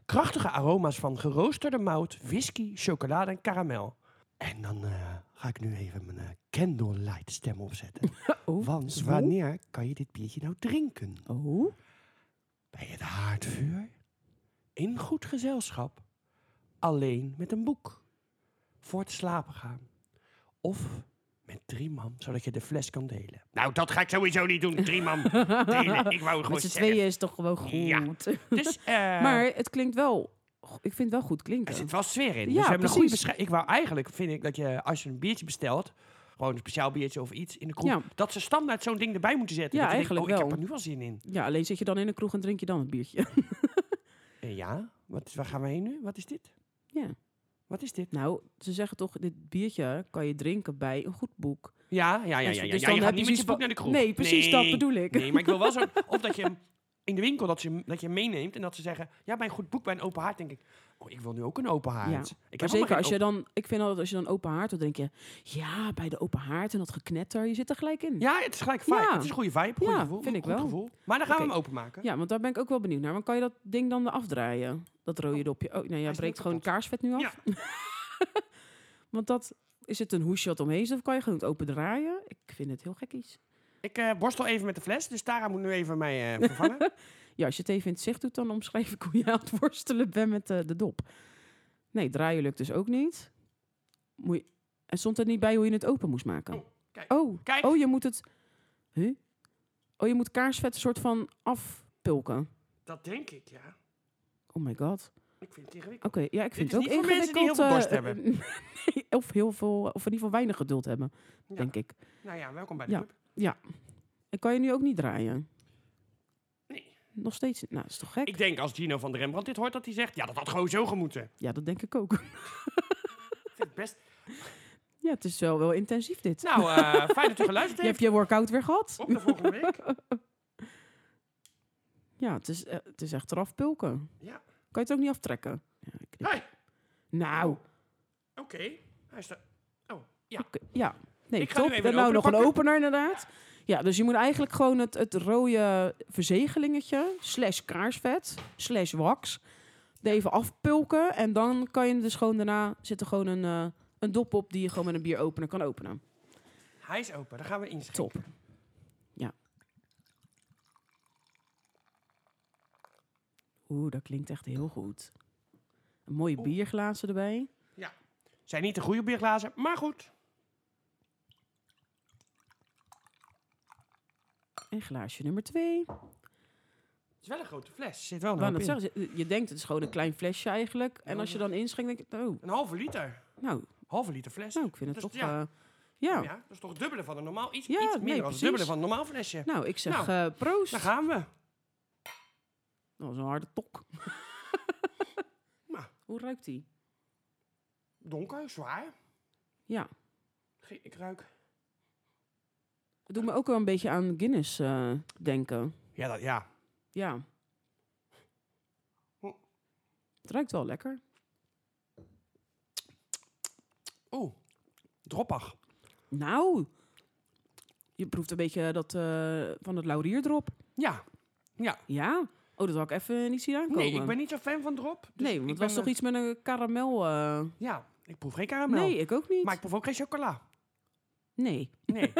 A: Krachtige aroma's van geroosterde mout, whisky, chocolade en karamel. En dan eh, ga ik nu even mijn eh, candlelight stem opzetten.
B: Oh,
A: Want
B: zo?
A: wanneer kan je dit biertje nou drinken?
B: Oh,
A: Bij het haardvuur, in goed gezelschap, alleen met een boek, voor het slapen gaan. Of met drie man, zodat je de fles kan delen. Nou, dat ga ik sowieso niet doen, drie man delen. Ik wou gewoon
B: met z'n
A: zelf.
B: tweeën is toch gewoon goed.
A: Ja. Dus, eh,
B: Maar het klinkt wel... go- Ik vind het wel goed
A: er
B: klinken.
A: zit wel sfeer in. Dus we
B: Ja,
A: hebben een goede
B: precies.
A: beschrijving. Ik wou eigenlijk, vind ik, dat je als je een biertje bestelt... Gewoon een speciaal biertje of iets in de kroeg.
B: Ja.
A: Dat ze standaard zo'n ding erbij moeten zetten.
B: Ja,
A: dat je denkt,
B: eigenlijk
A: oh,
B: wel.
A: ik heb er nu al zin in.
B: Ja, alleen zit je dan in een kroeg en drink je dan een biertje.
A: Eh, ja, wat, waar gaan we heen nu? Wat is dit?
B: Ja.
A: Wat is dit?
B: Nou, ze zeggen toch, dit biertje kan je drinken bij een goed boek.
A: Ja, ja, ja,
B: Dus-
A: ja. ja.
B: dus
A: ja,
B: dan
A: je
B: heb
A: gaat niet
B: je
A: met
B: zoiets
A: je
B: van-
A: boek naar de kroeg.
B: Nee, precies, dat
A: Nee.
B: bedoel ik.
A: Nee, maar ik wil wel zo... Of dat je hem in de winkel dat je, dat je hem meeneemt en dat ze zeggen... Ja, bij een goed boek, bij een open haard, denk ik... Oh, ik wil nu ook een open haard.
B: Ja.
A: Ik
B: Maar
A: heb
B: zeker als je dan... Ik vind altijd als je dan open haard, dan denk je... Ja, bij de open haard en dat geknetter, je zit er gelijk in.
A: Ja, het is gelijk vibe.
B: Ja.
A: Het is een goede vibe, goed
B: Ja,
A: gevoel.
B: vind ik
A: goed
B: wel.
A: gevoel. Maar dan gaan
B: Oké.
A: we hem openmaken.
B: Ja, want daar ben ik ook wel benieuwd naar. Want kan je dat ding dan eraf draaien? Dat rode dopje. Oh, nee, jij
A: is
B: breekt
A: nu
B: gewoon
A: kapot.
B: kaarsvet nu af. Want dat... Is het een hoesje wat omheen zit of kan je gewoon het open draaien? Ik vind het heel gekkies.
A: Ik eh, borstel even met de fles, dus Tara moet nu even mij eh, vervangen.
B: Ja, als je het even in het zicht doet, dan omschrijf ik hoe je aan het worstelen bent met eh, de dop. Nee, draaien lukt dus ook niet. Moet je- En stond er niet bij hoe je het open moest maken?
A: Oh, kijk.
B: Oh,
A: Kijk.
B: oh je moet het... Huh? Oh, je moet kaarsvet een soort van afpulken.
A: dat denk ik, ja.
B: Oh my god.
A: Ik vind het ingewikkeld.
B: Oké, ja, ik vind
A: Dit
B: het
A: is
B: ook
A: niet voor mensen die heel veel
B: ingewikkeld,
A: dorst
B: eh, nee, of heel veel, of in ieder geval weinig geduld hebben,
A: Ja.
B: denk ik.
A: Nou ja, welkom bij de
B: Ja.
A: club.
B: En kan je nu ook niet draaien?
A: Nee.
B: Nog steeds niet? Nou, dat is toch gek?
A: Ik denk als Gino van de Rembrandt dit hoort, dat hij zegt... Ja, dat had gewoon zo gemoeten.
B: Ja, dat denk ik ook.
A: Ik vind het best...
B: Ja, het is wel, wel intensief dit.
A: Nou, eh, fijn dat u geluisterd
B: je hebt
A: heeft.
B: je workout weer gehad?
A: Op de volgende week.
B: Ja, het is, eh, het is echt eraf pulken.
A: Ja.
B: Kan je het ook niet aftrekken? Ja, ik knip.
A: Hey.
B: Nou,
A: Oké, hij is er.
B: oké, ja. Nee,
A: Ik ga
B: top.
A: nu even
B: Dan
A: een
B: nou
A: opener
B: nog een
A: pakken.
B: opener inderdaad. Ja, dus je moet eigenlijk gewoon het, het rode verzegelingetje, slash kaarsvet, slash wax, er even afpulken. En dan kan je dus gewoon daarna, zit er gewoon een, eh, een dop op die je gewoon met een bieropener kan openen.
A: Hij is open, daar gaan we inschrijven.
B: Top. Ja. Oeh, dat klinkt echt heel goed. Een mooie
A: Oeh.
B: bierglazen erbij.
A: Zijn niet de goede bierglazen, maar goed. Oh,
B: En glaasje nummer twee.
A: Het is wel een grote fles. Er Zit wel
B: Ik
A: een
B: wou
A: hoop
B: net
A: in.
B: zeggen, je- je denkt, het is gewoon een klein flesje eigenlijk. En als je dan inschenkt, denk je, oh,
A: Een halve liter.
B: nou,
A: Halve liter fles.
B: nou ik vind het
A: Dus
B: toch...
A: ja.
B: eh, ja.
A: Ja. dat is toch het dubbele van een normaal. Iets,
B: Ja,
A: iets
B: nee,
A: minder dan het
B: precies.
A: dubbele van een normaal flesje.
B: nou, ik zeg eh, proost.
A: Daar gaan we.
B: Dat was een harde tok.
A: Maar-
B: Hoe ruikt die?
A: Donker, zwaar.
B: Ja.
A: Ge- Ik ruik.
B: Het doet me ook wel een beetje aan Guinness eh, denken.
A: Ja, dat, ja.
B: Ja.
A: Hm.
B: Het ruikt wel lekker.
A: Oeh, droppig.
B: Nou, je proeft een beetje dat eh, van het laurierdrop.
A: Ja.
B: Ja. Oh, dat had ik even niet zien aankomen.
A: Nee, ik ben niet zo fan van drop. Dus
B: nee,
A: ik
B: want het
A: ben,
B: was toch
A: eh,
B: iets met een karamel... eh,
A: Ja, ik proef geen karamel.
B: Nee, ik ook niet.
A: Maar ik proef ook geen chocola.
B: Nee.
A: Nee.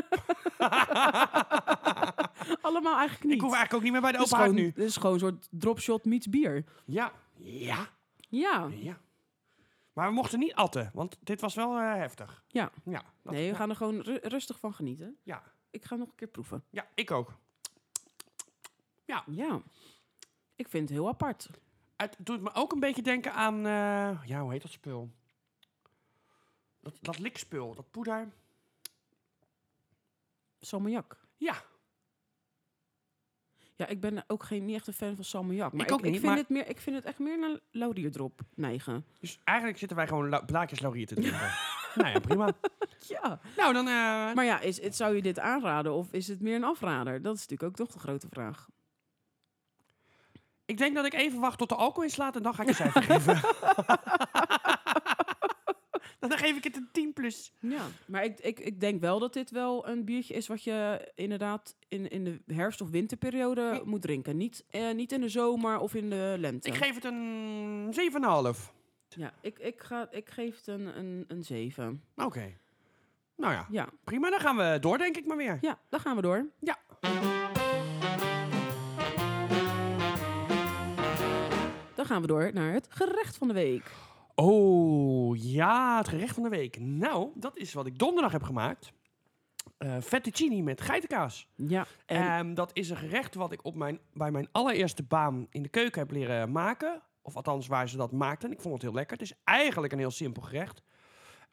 B: Allemaal eigenlijk niet.
A: ik hoef eigenlijk ook niet meer bij de
B: Het is
A: open haard
B: gewoon,
A: nu.
B: het is gewoon een soort dropshot meets bier.
A: Ja. Ja.
B: Ja.
A: Ja. Maar we mochten niet atten, want dit was wel eh, heftig.
B: Ja.
A: Ja, dat-
B: Nee, we
A: ja.
B: gaan er gewoon ru- rustig van genieten.
A: Ja.
B: Ik ga nog een keer proeven.
A: Ja, ik ook.
B: Ja. Ik vind het heel apart.
A: Het doet me ook een beetje denken aan... eh, ja, hoe heet dat spul? Dat, dat likspul, dat poeder.
B: Salmiak.
A: Ja.
B: Ja, ik ben ook geen, niet echt een fan van salmiak. Maar
A: Ik
B: ik,
A: ook
B: ik,
A: niet,
B: vind
A: maar-
B: het meer, ik vind het echt meer naar laurierdrop neigen.
A: Dus eigenlijk zitten wij gewoon la- blaadjes laurier te drinken. nou ja, prima.
B: Ja.
A: Nou, dan... eh,
B: Maar ja, is, het, zou je dit aanraden of is het meer een afrader? Dat is natuurlijk ook toch de grote vraag.
A: ik denk dat ik even wacht tot de alcohol inslaat en dan ga ik een cijfer geven. dan geef ik het een 10 plus.
B: Ja. Maar ik, ik, ik denk wel dat dit wel een biertje is wat je inderdaad in, in de herfst- of winterperiode
A: Ja.
B: moet drinken. Niet, eh, niet in de zomer of in de lente.
A: Ik geef het een 7,5.
B: ja, ik, ik, ga, ik geef het een, een, een 7.
A: Oké. Nou ja,
B: Ja.
A: prima. Dan gaan we door, denk ik maar weer.
B: ja, dan gaan we door.
A: Ja.
B: Dan gaan we door naar het gerecht van de week.
A: Oh, ja, het gerecht van de week. Nou, dat is wat ik donderdag heb gemaakt. Eh fettuccine met geitenkaas.
B: Ja, en
A: Ehm, dat is een gerecht wat ik op mijn, bij mijn allereerste baan in de keuken heb leren maken. Of althans, waar ze dat maakten. Ik vond het heel lekker. Het is eigenlijk een heel simpel gerecht.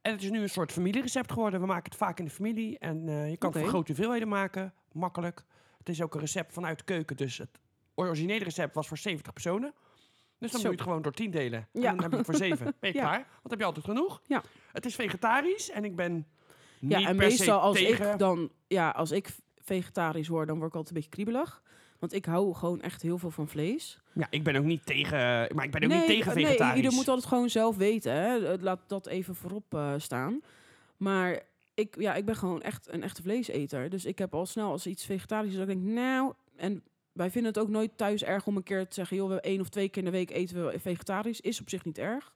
A: En het is nu een soort familierecept geworden. We maken het vaak in de familie. En eh, je kan
B: Oké.
A: het voor grote hoeveelheden maken. Makkelijk. Het is ook een recept vanuit de keuken. Dus het originele recept was voor 70 personen. Dus dan
B: Zo.
A: moet je het gewoon door 10 delen. En
B: Ja.
A: dan heb je het voor 7. Ben je
B: Ja.
A: klaar? Want dan heb je altijd genoeg.
B: Ja.
A: Het is vegetarisch. En ik ben niet
B: ja, en
A: per se
B: meestal als
A: tegen.
B: ik dan, ja, als ik vegetarisch hoor, dan word ik altijd een beetje kriebelig. Want ik hou gewoon echt heel veel van vlees.
A: Ja, ik ben ook niet tegen... Maar ik ben ook niet tegen
B: nee,
A: vegetarisch.
B: ieder moet altijd gewoon zelf weten. Hè. Eh, Laat dat even voorop eh, staan. Maar ik, ja, ik ben gewoon echt een echte vleeseter. Dus ik heb al snel als iets vegetarisch is, dat ik denk, nou... En wij vinden het ook nooit thuis erg om een keer te zeggen... joh, we één of twee keer in de week eten we vegetarisch. Is op zich niet erg.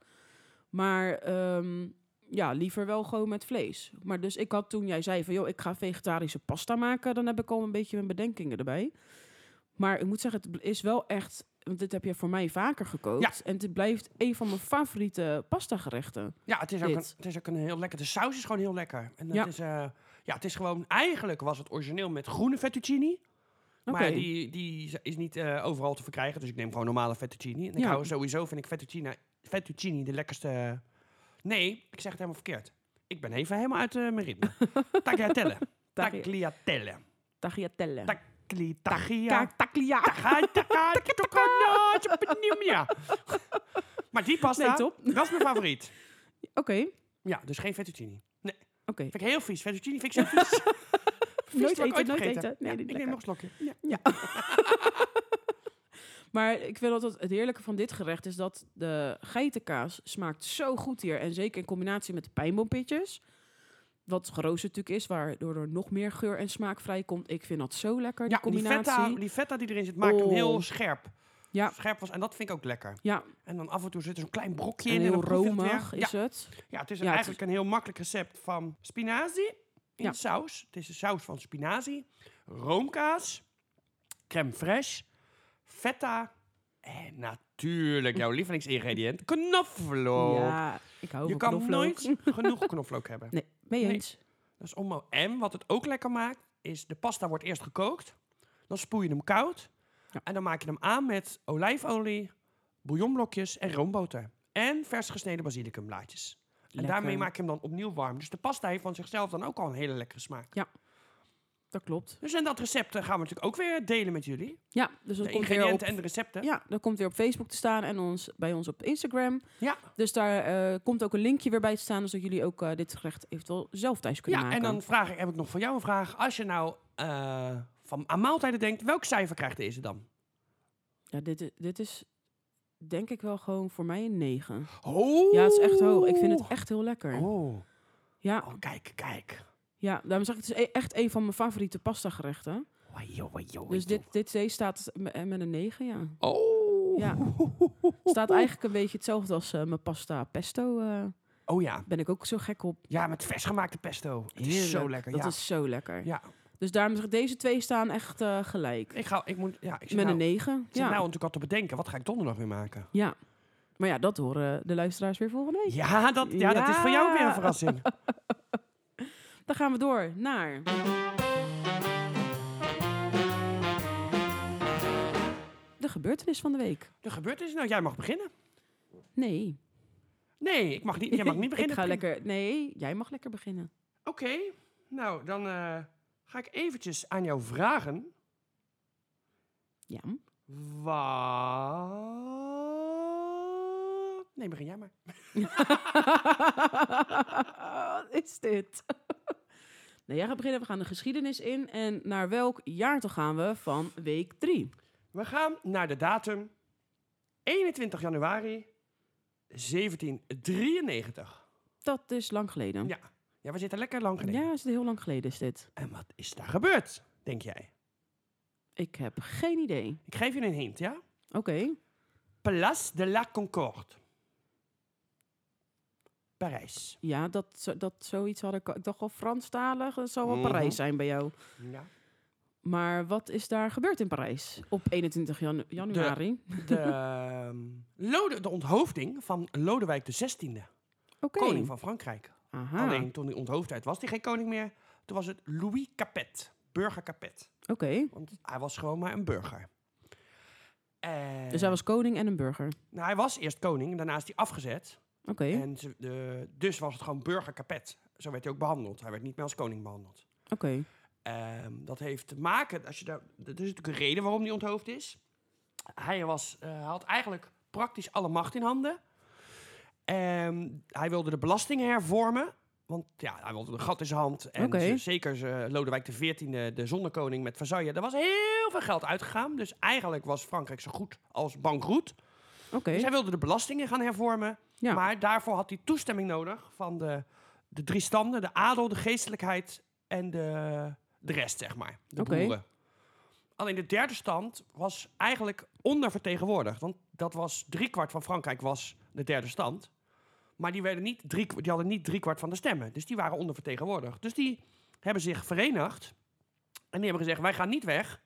B: Maar ehm, ja, liever wel gewoon met vlees. Maar dus ik had toen jij zei van... joh, ik ga vegetarische pasta maken... dan heb ik al een beetje mijn bedenkingen erbij. Maar ik moet zeggen, het is wel echt... want dit heb je voor mij vaker gekookt. En het blijft een van mijn favoriete pasta gerechten.
A: Ja, het is, ook een,
B: Dit.
A: het is ook een heel lekker. De saus is gewoon heel lekker. En het
B: Ja.
A: is, eh, ja, het is gewoon. Eigenlijk was het origineel met groene fettuccine. Maar
B: Oké.
A: die, die is niet eh, overal te verkrijgen. Dus ik neem gewoon normale fettuccine. En ik
B: Ja.
A: hou sowieso, vind ik fettuccine, fettuccine de lekkerste. Nee, ik zeg het helemaal verkeerd. Ik ben even helemaal uit eh, mijn ritme. Tagliatelle.
B: Tagli-
A: Tagliatelle.
B: Tagliatelle.
A: Tagli- Tagia.
B: Ka- Taglia.
A: Tagai- tagai- tagai- tagai- Ja. Maar die pasta,
B: Nee, top.
A: dat is mijn favoriet.
B: Oké, oké.
A: Ja, dus geen fettuccine. Nee. Vind ik heel vies. Fettuccine vind ik zo vies. Vies
B: Nooit
A: dat ik
B: eten,
A: ooit
B: nooit
A: gegeten
B: eten.
A: heb.
B: Nee,
A: Ja,
B: niet
A: ik neem
B: lekker.
A: nog een slokje. Ja.
B: Maar ik vind altijd het heerlijke van dit gerecht is dat de geitenkaas smaakt zo goed hier. En zeker in combinatie met de pijnboompitjes. Wat geroosterd natuurlijk is, waardoor er nog meer geur en smaak vrijkomt. Ik vind dat zo lekker, die
A: Ja, die
B: combinatie.
A: feta, die feta die erin zit maakt hem
B: Oh.
A: heel scherp.
B: Ja.
A: Scherp was, en dat vind ik ook lekker.
B: Ja,
A: En dan af en toe zit er zo'n klein brokje
B: en
A: in.
B: heel
A: dan proef je het weer.
B: romig is
A: ja.
B: het.
A: ja, het is
B: Ja, het
A: eigenlijk een heel makkelijk recept van spinazie in
B: Ja.
A: saus. Het is de saus van spinazie, roomkaas, crème fraîche, feta en natuurlijk jouw lievelingsingrediënt, knoflook.
B: Ja, ik hou
A: Je
B: van
A: kan
B: knoflook.
A: nooit genoeg knoflook hebben.
B: Nee, mee
A: Nee.
B: eens.
A: Dat is onmo- En wat het ook lekker maakt, is de pasta wordt eerst gekookt. Dan spoel je hem koud.
B: Ja.
A: En dan maak je hem aan met olijfolie, bouillonblokjes en roomboter. En vers gesneden basilicumblaadjes. En daarmee maak je hem dan opnieuw warm. Dus de pasta heeft van zichzelf dan ook al een hele lekkere smaak.
B: Dat klopt.
A: Dus en dat recept eh, gaan we natuurlijk ook weer delen met jullie.
B: Ja, dus dat
A: De
B: komt weer op
A: ingrediënten en de recepten.
B: Ja, dat komt weer op Facebook te staan en ons, bij ons op Instagram.
A: Ja.
B: Dus daar eh, komt ook een linkje weer bij te staan, zodat jullie ook eh, dit gerecht eventueel zelf thuis kunnen
A: Ja, en
B: maken.
A: dan vraag ik, heb ik nog voor jou een vraag. Als je nou eh, van, aan maaltijden denkt, welk cijfer krijgt deze dan?
B: ja, dit, i- dit is denk ik wel gewoon voor mij een 9.
A: Oh.
B: Ja, het is echt hoog. Ik vind het echt heel lekker.
A: Oh.
B: Ja,
A: Oh, kijk, kijk.
B: ja, daarom zeg ik, het is e- echt een van mijn favoriete pasta gerechten.
A: Wajo, wajo, wajo.
B: Dus dit, dit zee staat me- eh, met een 9, ja.
A: Oh.
B: Ja. Staat eigenlijk een beetje hetzelfde als eh, mijn pasta pesto. eh
A: Oh ja.
B: ben ik ook zo gek op.
A: Ja, met versgemaakte pesto. Het is zo
B: Heerlijk.
A: lekker.
B: Dat
A: ja.
B: is zo lekker.
A: Ja.
B: Dus daarom zeg ik, deze twee staan echt eh, gelijk.
A: Ik ga, ik moet, ja, ik zit
B: Met
A: nou,
B: een 9.
A: ik zit
B: Ja.
A: nou natuurlijk al te bedenken, wat ga ik donderdag weer maken?
B: ja. Maar ja, dat horen de luisteraars weer volgende week.
A: Ja, dat, ja, dat is voor jou weer een
B: Ja.
A: verrassing.
B: Dan gaan we door naar. De gebeurtenis van de week.
A: Er gebeurt iets. Nou, jij mag beginnen.
B: Nee.
A: Nee, ik mag niet, jij mag niet beginnen.
B: ik ga lekker. Nee, jij mag lekker beginnen.
A: Oké, nou dan eh, ga ik eventjes aan jou vragen.
B: Ja.
A: Wat? Nee, begin jij maar. Hm?
B: Wat is dit? Nee, jij gaat beginnen. We gaan de geschiedenis in. En naar welk jaartal gaan we van week 3?
A: We gaan naar de datum 21 januari 1793.
B: Dat is lang geleden.
A: Ja, ja we zitten lekker lang geleden.
B: ja is het heel lang geleden is dit.
A: En wat is daar gebeurd, denk jij?
B: Ik heb geen idee.
A: Ik geef je een hint, ja?
B: Oké.
A: Place de la Concorde. Parijs.
B: Ja, dat, zo- dat zoiets had ik. al- Ik dacht wel Franstalig, dat zal wel
A: Mhm.
B: Parijs zijn bij jou.
A: Ja.
B: Maar wat is daar gebeurd in Parijs op 21 janu- januari?
A: De, ehm, Lode, de onthoofding van Lodewijk XVI,
B: Oké. Ah.
A: koning van Frankrijk.
B: Aha.
A: Alleen toen hij onthoofd uit was, hij geen koning meer. Toen was het Louis Capet, burger Capet.
B: Oké.
A: Want hij was gewoon maar een burger. En-
B: Dus hij was koning en een burger. Oké.
A: nou, hij was eerst koning, daarna is hij afgezet. En ze- de- dus was het gewoon burger Capet. Zo werd hij ook behandeld. Hij werd niet meer als koning behandeld.
B: Oké.
A: Ehm, dat heeft te maken, als je daar, er is natuurlijk een reden waarom die onthoofd is. Hij was, eh, had eigenlijk praktisch alle macht in handen. Ehm, hij wilde de belastingen hervormen. Want ja, hij wilde een gat in zijn hand. En
B: Oké.
A: ze- zeker ze- Lodewijk XIV, de zonnekoning met Versailles. Er was heel veel geld uitgegaan. Dus eigenlijk was Frankrijk zo goed als bankroet.
B: Oké.
A: Dus hij wilde de belastingen gaan hervormen.
B: Ja.
A: Maar daarvoor had hij toestemming nodig van de, de drie standen: de adel, de geestelijkheid en de, de rest, zeg maar. De
B: Oké.
A: boeren. Alleen de derde stand was eigenlijk ondervertegenwoordigd. Want dat was driekwart van Frankrijk was de derde stand. Maar die, werden niet drie, die hadden niet driekwart van de stemmen. Dus die waren ondervertegenwoordigd. Dus die hebben zich verenigd. En die hebben gezegd, wij gaan niet weg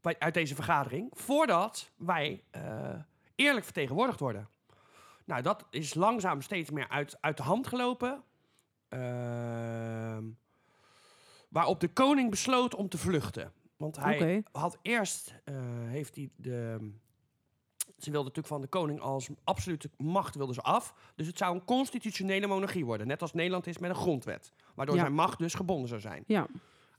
A: bij- uit deze vergadering... voordat wij eh, eerlijk vertegenwoordigd worden. Nou, dat is langzaam steeds meer uit, uit de hand gelopen. Ehm, waarop de koning besloot om te vluchten. Want hij
B: Oké.
A: had eerst... eh, heeft hij de... Ze wilden natuurlijk van de koning als absolute macht wilden ze af. Dus het zou een constitutionele monarchie worden. Net als Nederland is met een grondwet. Waardoor
B: Ja.
A: zijn macht dus gebonden zou zijn.
B: Ja.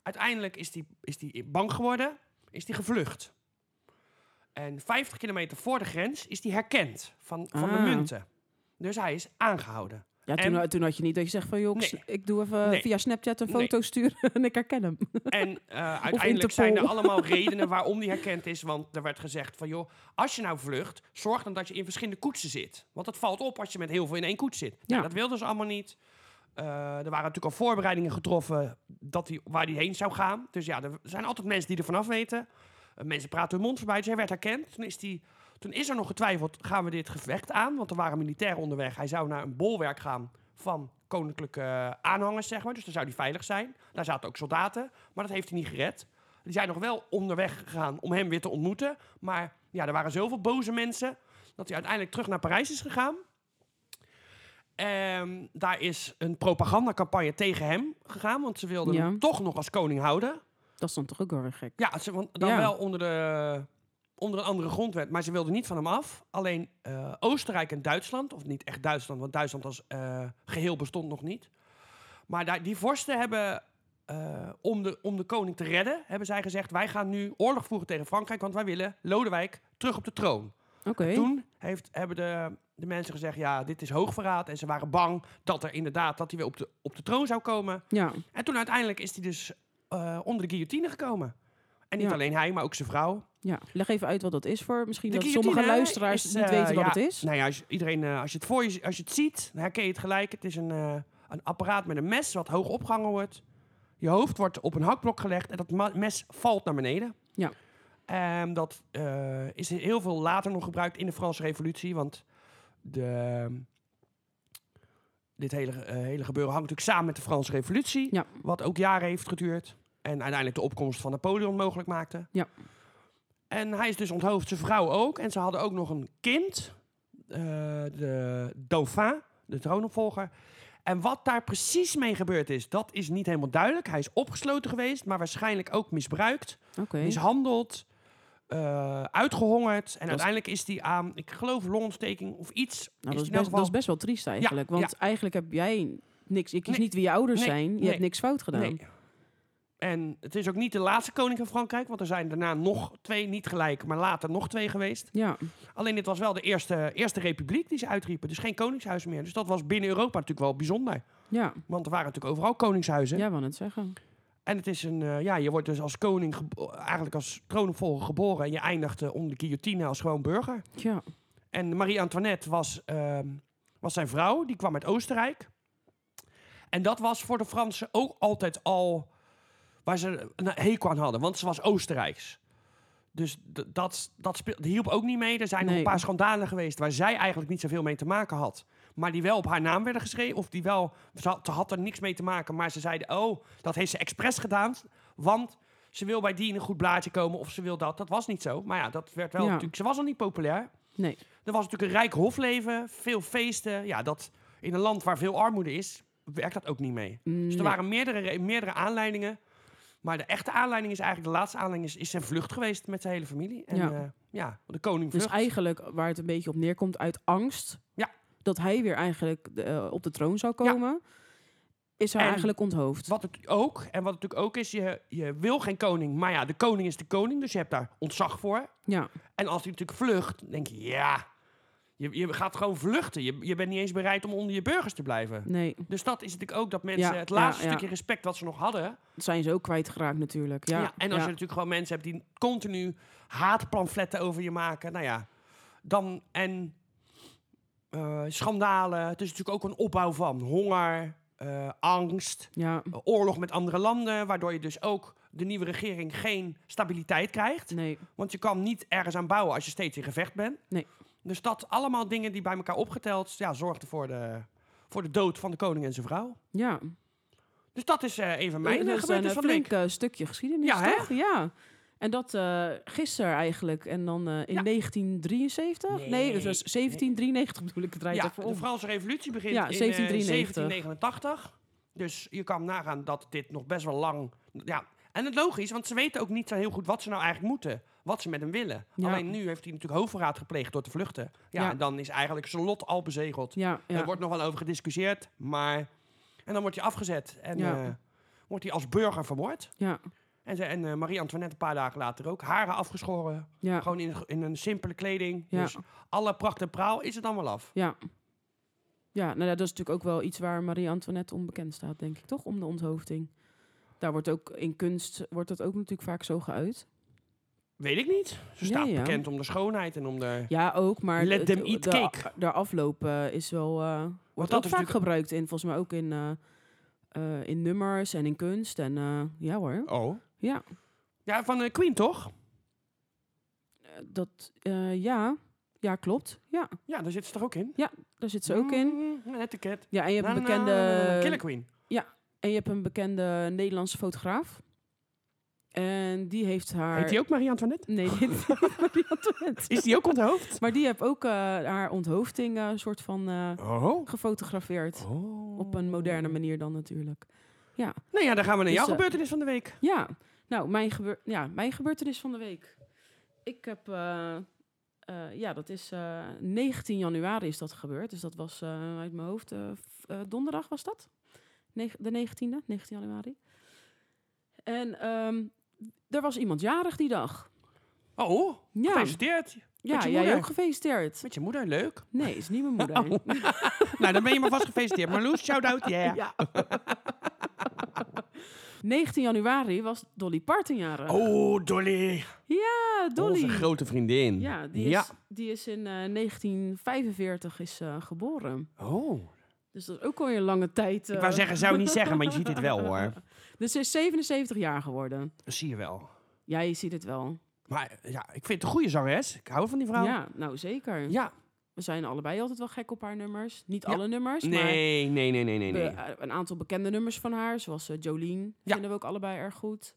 A: Uiteindelijk is die, is die bang geworden. Is die gevlucht. En 50 kilometer voor de grens is die herkend van, van de
B: Ah.
A: munten. Dus hij is aangehouden.
B: Ja, toen, toen had je niet dat je zegt van joh, ik s-
A: Nee.
B: ik doe even
A: Nee.
B: via Snapchat een
A: Nee.
B: foto sturen en ik herken hem.
A: En eh, uiteindelijk
B: Interpol.
A: zijn er allemaal redenen waarom die herkend is. Want er werd gezegd van, joh, als je nou vlucht, zorg dan dat je in verschillende koetsen zit. Want het valt op als je met heel veel in één koets zit. Nou,
B: Ja.
A: dat wilden ze allemaal niet. Eh, er waren natuurlijk al voorbereidingen getroffen dat die, waar hij heen zou gaan. Dus ja, er zijn altijd mensen die er vanaf weten. Eh, mensen praten hun mond voorbij. Dus hij werd herkend. Toen is, die, toen is er nog getwijfeld, gaan we dit gevecht aan? Want er waren militairen onderweg. Hij zou naar een bolwerk gaan van koninklijke eh, aanhangers, zeg maar. Dus daar zou hij veilig zijn. Daar zaten ook soldaten. Maar dat heeft hij niet gered. Die zijn nog wel onderweg gegaan om hem weer te ontmoeten. Maar ja, er waren zoveel boze mensen... dat hij uiteindelijk terug naar Parijs is gegaan. Ehm, daar is een propagandacampagne tegen hem gegaan. Want ze wilden
B: Ja.
A: hem toch nog als koning houden.
B: Dat is dan toch ook wel weer gek.
A: Ja, ze, want dan
B: Ja.
A: wel onder de onder een andere grondwet, maar ze wilden niet van hem af. Alleen eh, Oostenrijk en Duitsland, of niet echt Duitsland, want Duitsland als eh, geheel bestond nog niet. Maar daar, die vorsten hebben, eh, om, de, om de koning te redden, hebben zij gezegd... wij gaan nu oorlog voeren tegen Frankrijk, want wij willen Lodewijk terug op de troon.
B: Oké.
A: Toen heeft, hebben de, de mensen gezegd, ja, dit is hoogverraad. En ze waren bang dat er inderdaad dat hij weer op de, op de troon zou komen.
B: Ja.
A: En toen uiteindelijk is hij dus eh, onder de guillotine gekomen. En niet
B: Ja.
A: alleen hij, maar ook zijn vrouw.
B: ja, leg even uit wat dat is voor. Misschien
A: De
B: dat
A: guillotine,
B: sommige
A: hè,
B: luisteraars
A: is,
B: niet
A: eh,
B: weten wat
A: ja,
B: het is.
A: Nou ja, als, je- iedereen, eh, als, je het voor je, als je het ziet, dan herken je het gelijk. Het is een, eh, een apparaat met een mes wat hoog opgehangen wordt. Je hoofd wordt op een hakblok gelegd en dat ma- mes valt naar beneden.
B: Ja.
A: Ehm, dat eh, is heel veel later nog gebruikt in de Franse Revolutie, want de, dit hele, eh, hele gebeuren hangt natuurlijk samen met de Franse Revolutie,
B: Ja.
A: wat ook jaren heeft geduurd en uiteindelijk de opkomst van Napoleon mogelijk maakte.
B: Ja.
A: En hij is dus onthoofd, zijn vrouw ook, en ze hadden ook nog een kind, eh, de Dauphin, de troonopvolger. En wat daar precies mee gebeurd is, dat is niet helemaal duidelijk. Hij is opgesloten geweest, maar waarschijnlijk ook misbruikt
B: Oké.
A: mishandeld, eh, uitgehongerd. En
B: is-
A: uiteindelijk is die aan, ik geloof, longontsteking of iets.
B: Nou, dat,
A: is die in
B: is best,
A: elk
B: dat is
A: geval-
B: best wel triest eigenlijk. want eigenlijk heb jij niks. Ik kies
A: Nee.
B: niet wie je ouders
A: Nee.
B: zijn. Je
A: Nee.
B: hebt niks fout gedaan.
A: Nee. En het is ook niet de laatste koning van Frankrijk, want er zijn daarna nog twee, niet gelijk, maar later nog twee geweest.
B: Ja,
A: Alleen dit was wel de eerste, eerste republiek die ze uitriepen, dus geen koningshuis meer. Dus dat was binnen Europa natuurlijk wel bijzonder,
B: ja.
A: want er waren natuurlijk overal koningshuizen.
B: Ja, wou net zeggen.
A: En het is een, eh, ja, je wordt dus als koning, gebo- eigenlijk als troonopvolger geboren en je eindigt eh, onder de guillotine als gewoon burger.
B: Ja,
A: En Marie-Antoinette was, ehm, was zijn vrouw, die kwam uit Oostenrijk. En dat was voor de Fransen ook altijd al waar ze een hekel aan hadden, want ze was Oostenrijks. Dus d- dat, dat speel- hielp ook niet mee. Er zijn nog
B: Nee.
A: een paar schandalen geweest waar zij eigenlijk niet zoveel mee te maken had. Maar die wel op haar naam werden geschreven. Of die wel, ze had, ze had er niks mee te maken. Maar ze zeiden, oh, dat heeft ze expres gedaan. Want ze wil bij die in een goed blaadje komen. Of ze wil dat. Dat was niet zo. Maar ja, dat werd wel
B: Ja.
A: natuurlijk... Ze was al niet populair.
B: nee.
A: Er was natuurlijk een rijk hofleven, veel feesten. Ja, dat in een land waar veel armoede is, werkt dat ook niet mee. Dus er
B: Nee.
A: waren meerdere, re- meerdere aanleidingen. Maar de echte aanleiding is eigenlijk, de laatste aanleiding is, is zijn vlucht geweest met zijn hele familie. En
B: Ja.
A: ja, ja de koning
B: Dus
A: vlucht.
B: eigenlijk waar het een beetje op neerkomt uit angst.
A: Ja.
B: Dat hij weer eigenlijk eh, op de troon zou komen. Is hij
A: En-
B: eigenlijk onthoofd.
A: Wat het ook, en wat het natuurlijk ook is, je, je wil geen koning, maar ja, de koning is de koning, dus je hebt daar ontzag voor.
B: Ja,
A: En als hij natuurlijk vlucht, dan denk je, ja, je, je gaat gewoon vluchten. Je, je bent niet eens bereid om onder je burgers te blijven.
B: nee.
A: Dus dat is natuurlijk ook dat mensen
B: Ja,
A: het
B: ja,
A: laatste
B: ja.
A: stukje respect wat ze nog hadden,
B: Dat zijn ze ook kwijtgeraakt natuurlijk. Ja,
A: Ja, en als je
B: ja.
A: natuurlijk gewoon mensen hebt die continu haatpamfletten over je maken, nou ja, dan en eh, schandalen. Het is natuurlijk ook een opbouw van honger, eh, angst,
B: Ja,
A: eh, oorlog met andere landen, waardoor je dus ook de nieuwe regering geen stabiliteit krijgt.
B: nee.
A: Want je kan niet ergens aan bouwen als je steeds in gevecht bent.
B: Nee.
A: Dus dat allemaal dingen die bij elkaar opgeteld ja, zorgden voor de, voor de dood van de koning en zijn vrouw.
B: Ja.
A: Dus dat is eh een van mijn eh,
B: dat is een
A: gebeurtenissen
B: eh,
A: van de week.
B: flink eh, stukje geschiedenis,
A: Ja, hè?
B: toch? Ja. En dat eh gisteren eigenlijk. En dan eh, in
A: Ja.
B: 1973? Nee,
A: Nee,
B: dat was 1793 bedoel ik het rijden
A: Ja,
B: even
A: de
B: om.
A: Franse revolutie begint
B: Ja,
A: in eh,
B: 1793.
A: 1789. Dus je kan nagaan dat dit nog best wel lang... Ja. En het logisch, want ze weten ook niet zo heel goed wat ze nou eigenlijk moeten. Wat ze met hem willen.
B: Ja.
A: Alleen nu heeft hij natuurlijk hoofdverraad gepleegd door te vluchten. Ja,
B: Ja.
A: en dan is eigenlijk zijn lot al bezegeld.
B: Ja, ja.
A: Er wordt nog wel over gediscussieerd, maar... En dan wordt hij afgezet en
B: Ja.
A: eh, wordt hij als burger vermoord.
B: ja,
A: En, ze, en eh, Marie-Antoinette een paar dagen later ook. Haren afgeschoren,
B: ja.
A: gewoon in, in een simpele kleding.
B: Ja.
A: Dus alle pracht en praal is het dan wel af.
B: Ja. Ja, nou ja, dat is natuurlijk ook wel iets waar Marie-Antoinette onbekend staat, denk ik, toch? Om de onthoofding. Daar wordt ook in kunst, wordt dat ook natuurlijk vaak zo geuit.
A: Weet ik niet. Ze
B: Ja,
A: staat
B: ja.
A: bekend om de schoonheid en om de...
B: Ja, ook, maar...
A: Let
B: de-
A: them eat
B: de-
A: cake.
B: De afloop eh, is wel... eh, wordt
A: dat
B: ook
A: is
B: vaak
A: natuurlijk-
B: gebruikt in, volgens mij ook in, eh, eh, in nummers en in kunst. En eh, ja hoor,
A: Oh.
B: ja.
A: Ja, van eh, Queen toch?
B: Eh, Dat, eh, ja. Ja, klopt. Ja,
A: Ja, daar zit ze toch ook in?
B: daar zit ze ook in.
A: Mm, een etiket.
B: Ja, en je hebt
A: Na,
B: een
A: na, na, na, na. Killer
B: bekende...
A: Queen.
B: En je hebt een bekende Nederlandse fotograaf. En die heeft haar...
A: Heet die ook Marie-Antoinette?
B: Nee, dit is niet Marie-Antoinette.
A: Is die ook onthoofd?
B: Maar die heeft ook eh, haar onthoofding eh, soort van eh,
A: Oh.
B: gefotografeerd. Op een moderne manier dan natuurlijk.
A: Nou ja, dan gaan we naar
B: Dus,
A: jouw
B: eh,
A: gebeurtenis van de week.
B: Ja, nou, mijn, gebeur ja, mijn gebeurtenis van de week Ik heb, eh, eh, ja, dat is eh, 19 januari is dat gebeurd. Dus dat was eh, uit mijn hoofd, eh, v- eh, donderdag was dat. Neg- de 19e, 19 januari. En ehm, er was iemand jarig die dag.
A: Oh,
B: Ja,
A: gefeliciteerd.
B: ja
A: je
B: jij
A: moeder.
B: ook gefeliciteerd.
A: Met je moeder, leuk.
B: Nee, is niet mijn moeder.
A: Oh. nou, dan ben je maar vast gefeliciteerd. Marloes, shout-out, yeah.
B: Ja. 19 januari was Dolly Parton jarig.
A: Oh, Dolly.
B: Ja, Dolly.
A: Onze grote vriendin.
B: Ja, die is,
A: Ja.
B: Die is in eh, 1945 is, eh, geboren.
A: Oh.
B: Dus dat is ook alweer een lange tijd.
A: Ik
B: eh.
A: wou zeggen, zou niet zeggen, maar je ziet het wel hoor.
B: Dus ze is 77 jaar geworden.
A: Dat zie je wel.
B: Ja, je ziet het wel.
A: Maar eh, ja, ik vind het een goede zangeres. Ik hou van die vrouw.
B: Ja, nou zeker.
A: Ja.
B: We zijn allebei altijd wel gek op haar nummers. Niet
A: Ja.
B: alle nummers, maar
A: Nee, nee, nee, nee, nee.
B: be-
A: nee.
B: eh, een aantal bekende nummers van haar. Zoals eh, Jolene vinden we ook allebei erg goed.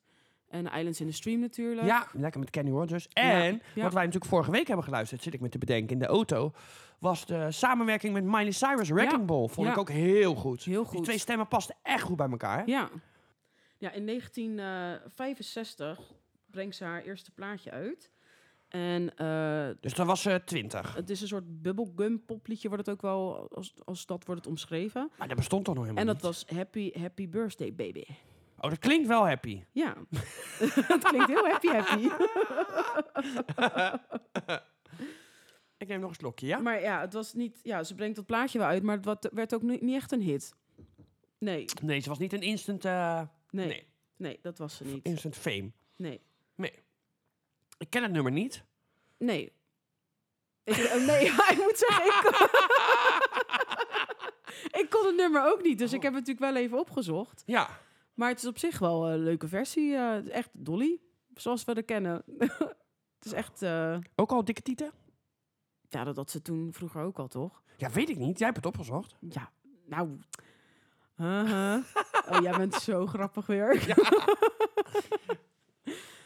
B: En Islands in the Stream natuurlijk.
A: Ja, lekker met Kenny Rogers. En
B: ja.
A: wat wij natuurlijk vorige week hebben geluisterd, zit ik me te bedenken in de auto, was de samenwerking met Miley Cyrus, Wrecking
B: Ja.
A: Ball. Vond
B: Ja.
A: ik ook heel goed.
B: Heel
A: Die
B: goed.
A: twee stemmen pasten echt goed bij elkaar.
B: Ja. Ja, in 1965 brengt ze haar eerste plaatje uit. En eh,
A: Dus dat was eh 20.
B: het is een soort bubblegum popliedje, wordt het ook wel als, als dat wordt het omschreven.
A: Maar dat bestond toch nog helemaal
B: En dat
A: niet?
B: was Happy Happy Birthday Baby.
A: Oh, dat klinkt wel happy.
B: Ja, het klinkt heel happy happy.
A: Ik neem nog een slokje, ja?
B: Maar ja, het was niet. Ja, ze brengt dat plaatje wel uit, maar het wat- werd ook ni- niet echt een hit. Nee,
A: Nee, ze was niet een instant, eh,
B: nee, nee,
A: Nee.
B: dat was ze niet.
A: instant fame.
B: Nee,
A: Ik ken het nummer niet.
B: nee. Ik, eh, nee, ik moet zeggen, ik kon, ik kon het nummer ook niet, dus ik heb het natuurlijk wel even opgezocht.
A: Ja.
B: Maar het is op zich wel een leuke versie. eh, het is echt Dolly, zoals we haar kennen. het is echt. eh,
A: Ook al dikke tieten?
B: ja, dat had ze toen vroeger ook al, toch?
A: Ja, weet ik niet. Jij hebt het opgezocht.
B: Ja, nou. Haha. Oh, jij bent zo grappig weer.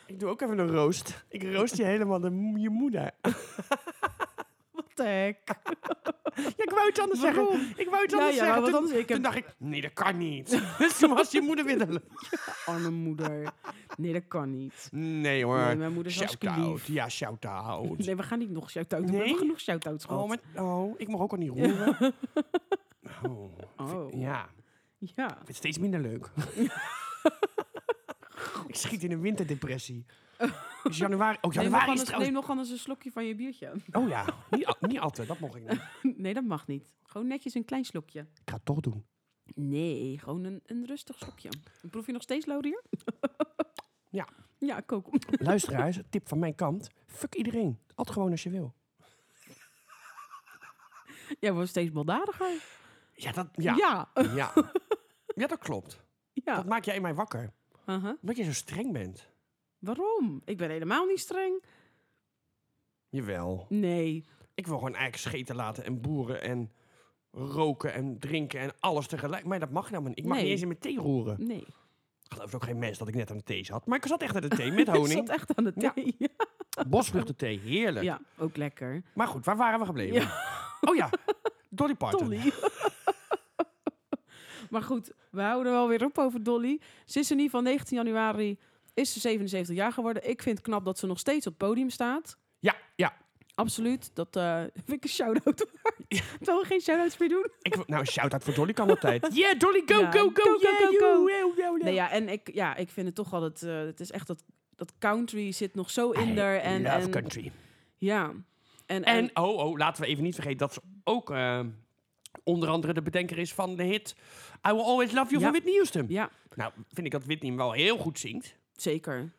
A: Ik doe ook even een roost. Ik roost je helemaal de, m- je moeder.
B: Wat de heck?
A: Ja, ik wou iets anders
B: Waarom?
A: zeggen. Ik wou iets
B: Ja,
A: anders
B: ja,
A: zeggen.
B: wat
A: Toen-
B: anders. Ik
A: Toen
B: heb
A: dacht ik, nee, dat kan niet. dus toen was je moeder weer de lul.
B: arme moeder. Nee, dat kan niet.
A: Nee hoor.
B: Nee, mijn moeder is hartstikke
A: shout-out.
B: lief.
A: Ja, shout-out.
B: Nee, we gaan niet nog shout-out doen. We
A: Nee?
B: hebben genoeg shout-outs gehad.
A: Oh, maar, oh, ik mag ook al niet roeren. Oh.
B: Oh.
A: Ja, ik
B: Ja.
A: vind het steeds minder leuk. ik schiet in een winterdepressie. Is januari... Oh,
B: Neem nog,
A: januari is
B: anders, neem
A: trouwens...
B: nog anders een slokje van je biertje.
A: Oh ja, niet, al- niet altijd. Dat mocht ik niet.
B: Nee, dat mag niet. Gewoon netjes een klein slokje.
A: Ik ga het toch doen.
B: Nee, gewoon een, een rustig slokje. Proef je nog steeds hier?
A: Ja.
B: Ja, ik ook.
A: Luisteraars, tip van mijn kant. Fuck iedereen. At gewoon als je wil.
B: Jij wordt steeds baldadiger.
A: Ja, dat... Ja.
B: Ja.
A: Ja, ja dat klopt.
B: Ja.
A: Dat maak jij mij wakker.
B: Uh-huh.
A: Omdat je zo streng bent.
B: Waarom? Ik ben helemaal niet streng.
A: Jawel.
B: Nee.
A: Ik wil gewoon eigenlijk scheten laten en boeren en roken en drinken en alles tegelijk. Maar dat mag helemaal niet. Ik mag
B: Nee.
A: niet eens in mijn thee roeren.
B: Nee.
A: Gelooft ook geen mens dat ik net aan de thee zat. Maar ik zat echt aan de thee met honing.
B: Ik zat echt aan de
A: Ja.
B: thee. Ja,
A: Bosvruchtenthee, heerlijk.
B: ja ook lekker.
A: Maar goed, waar waren we gebleven? Oh ja, Dolly Parton.
B: Dolly. maar goed, we houden wel weer op over Dolly. Ze is in ieder geval 19 januari is ze 77 jaar geworden. Ik vind het knap dat ze nog steeds op het podium staat.
A: Ja, ja.
B: Absoluut. Dat eh, vind ik een shout-out waard. Terwijl we geen shout-outs meer doen.
A: Ik, wil- nou, een shout-out voor Dolly kan altijd. Yeah, Dolly, go,
B: Ja,
A: go, go,
B: go, go,
A: yeah,
B: go,
A: you,
B: go.
A: yeah, yeah, yeah.
B: Nee, ja, en ik, ja, ik vind het toch altijd... eh, het is echt dat, dat country zit nog zo in
A: I
B: daar. En,
A: love
B: en,
A: country.
B: Ja. En, en,
A: En, oh, oh, laten we even niet vergeten dat ze ook eh, onder andere de bedenker is van de hit I Will Always Love You
B: Ja.
A: van Whitney Houston.
B: ja,
A: Nou, vind ik dat Whitney hem wel heel goed zingt.
B: zeker.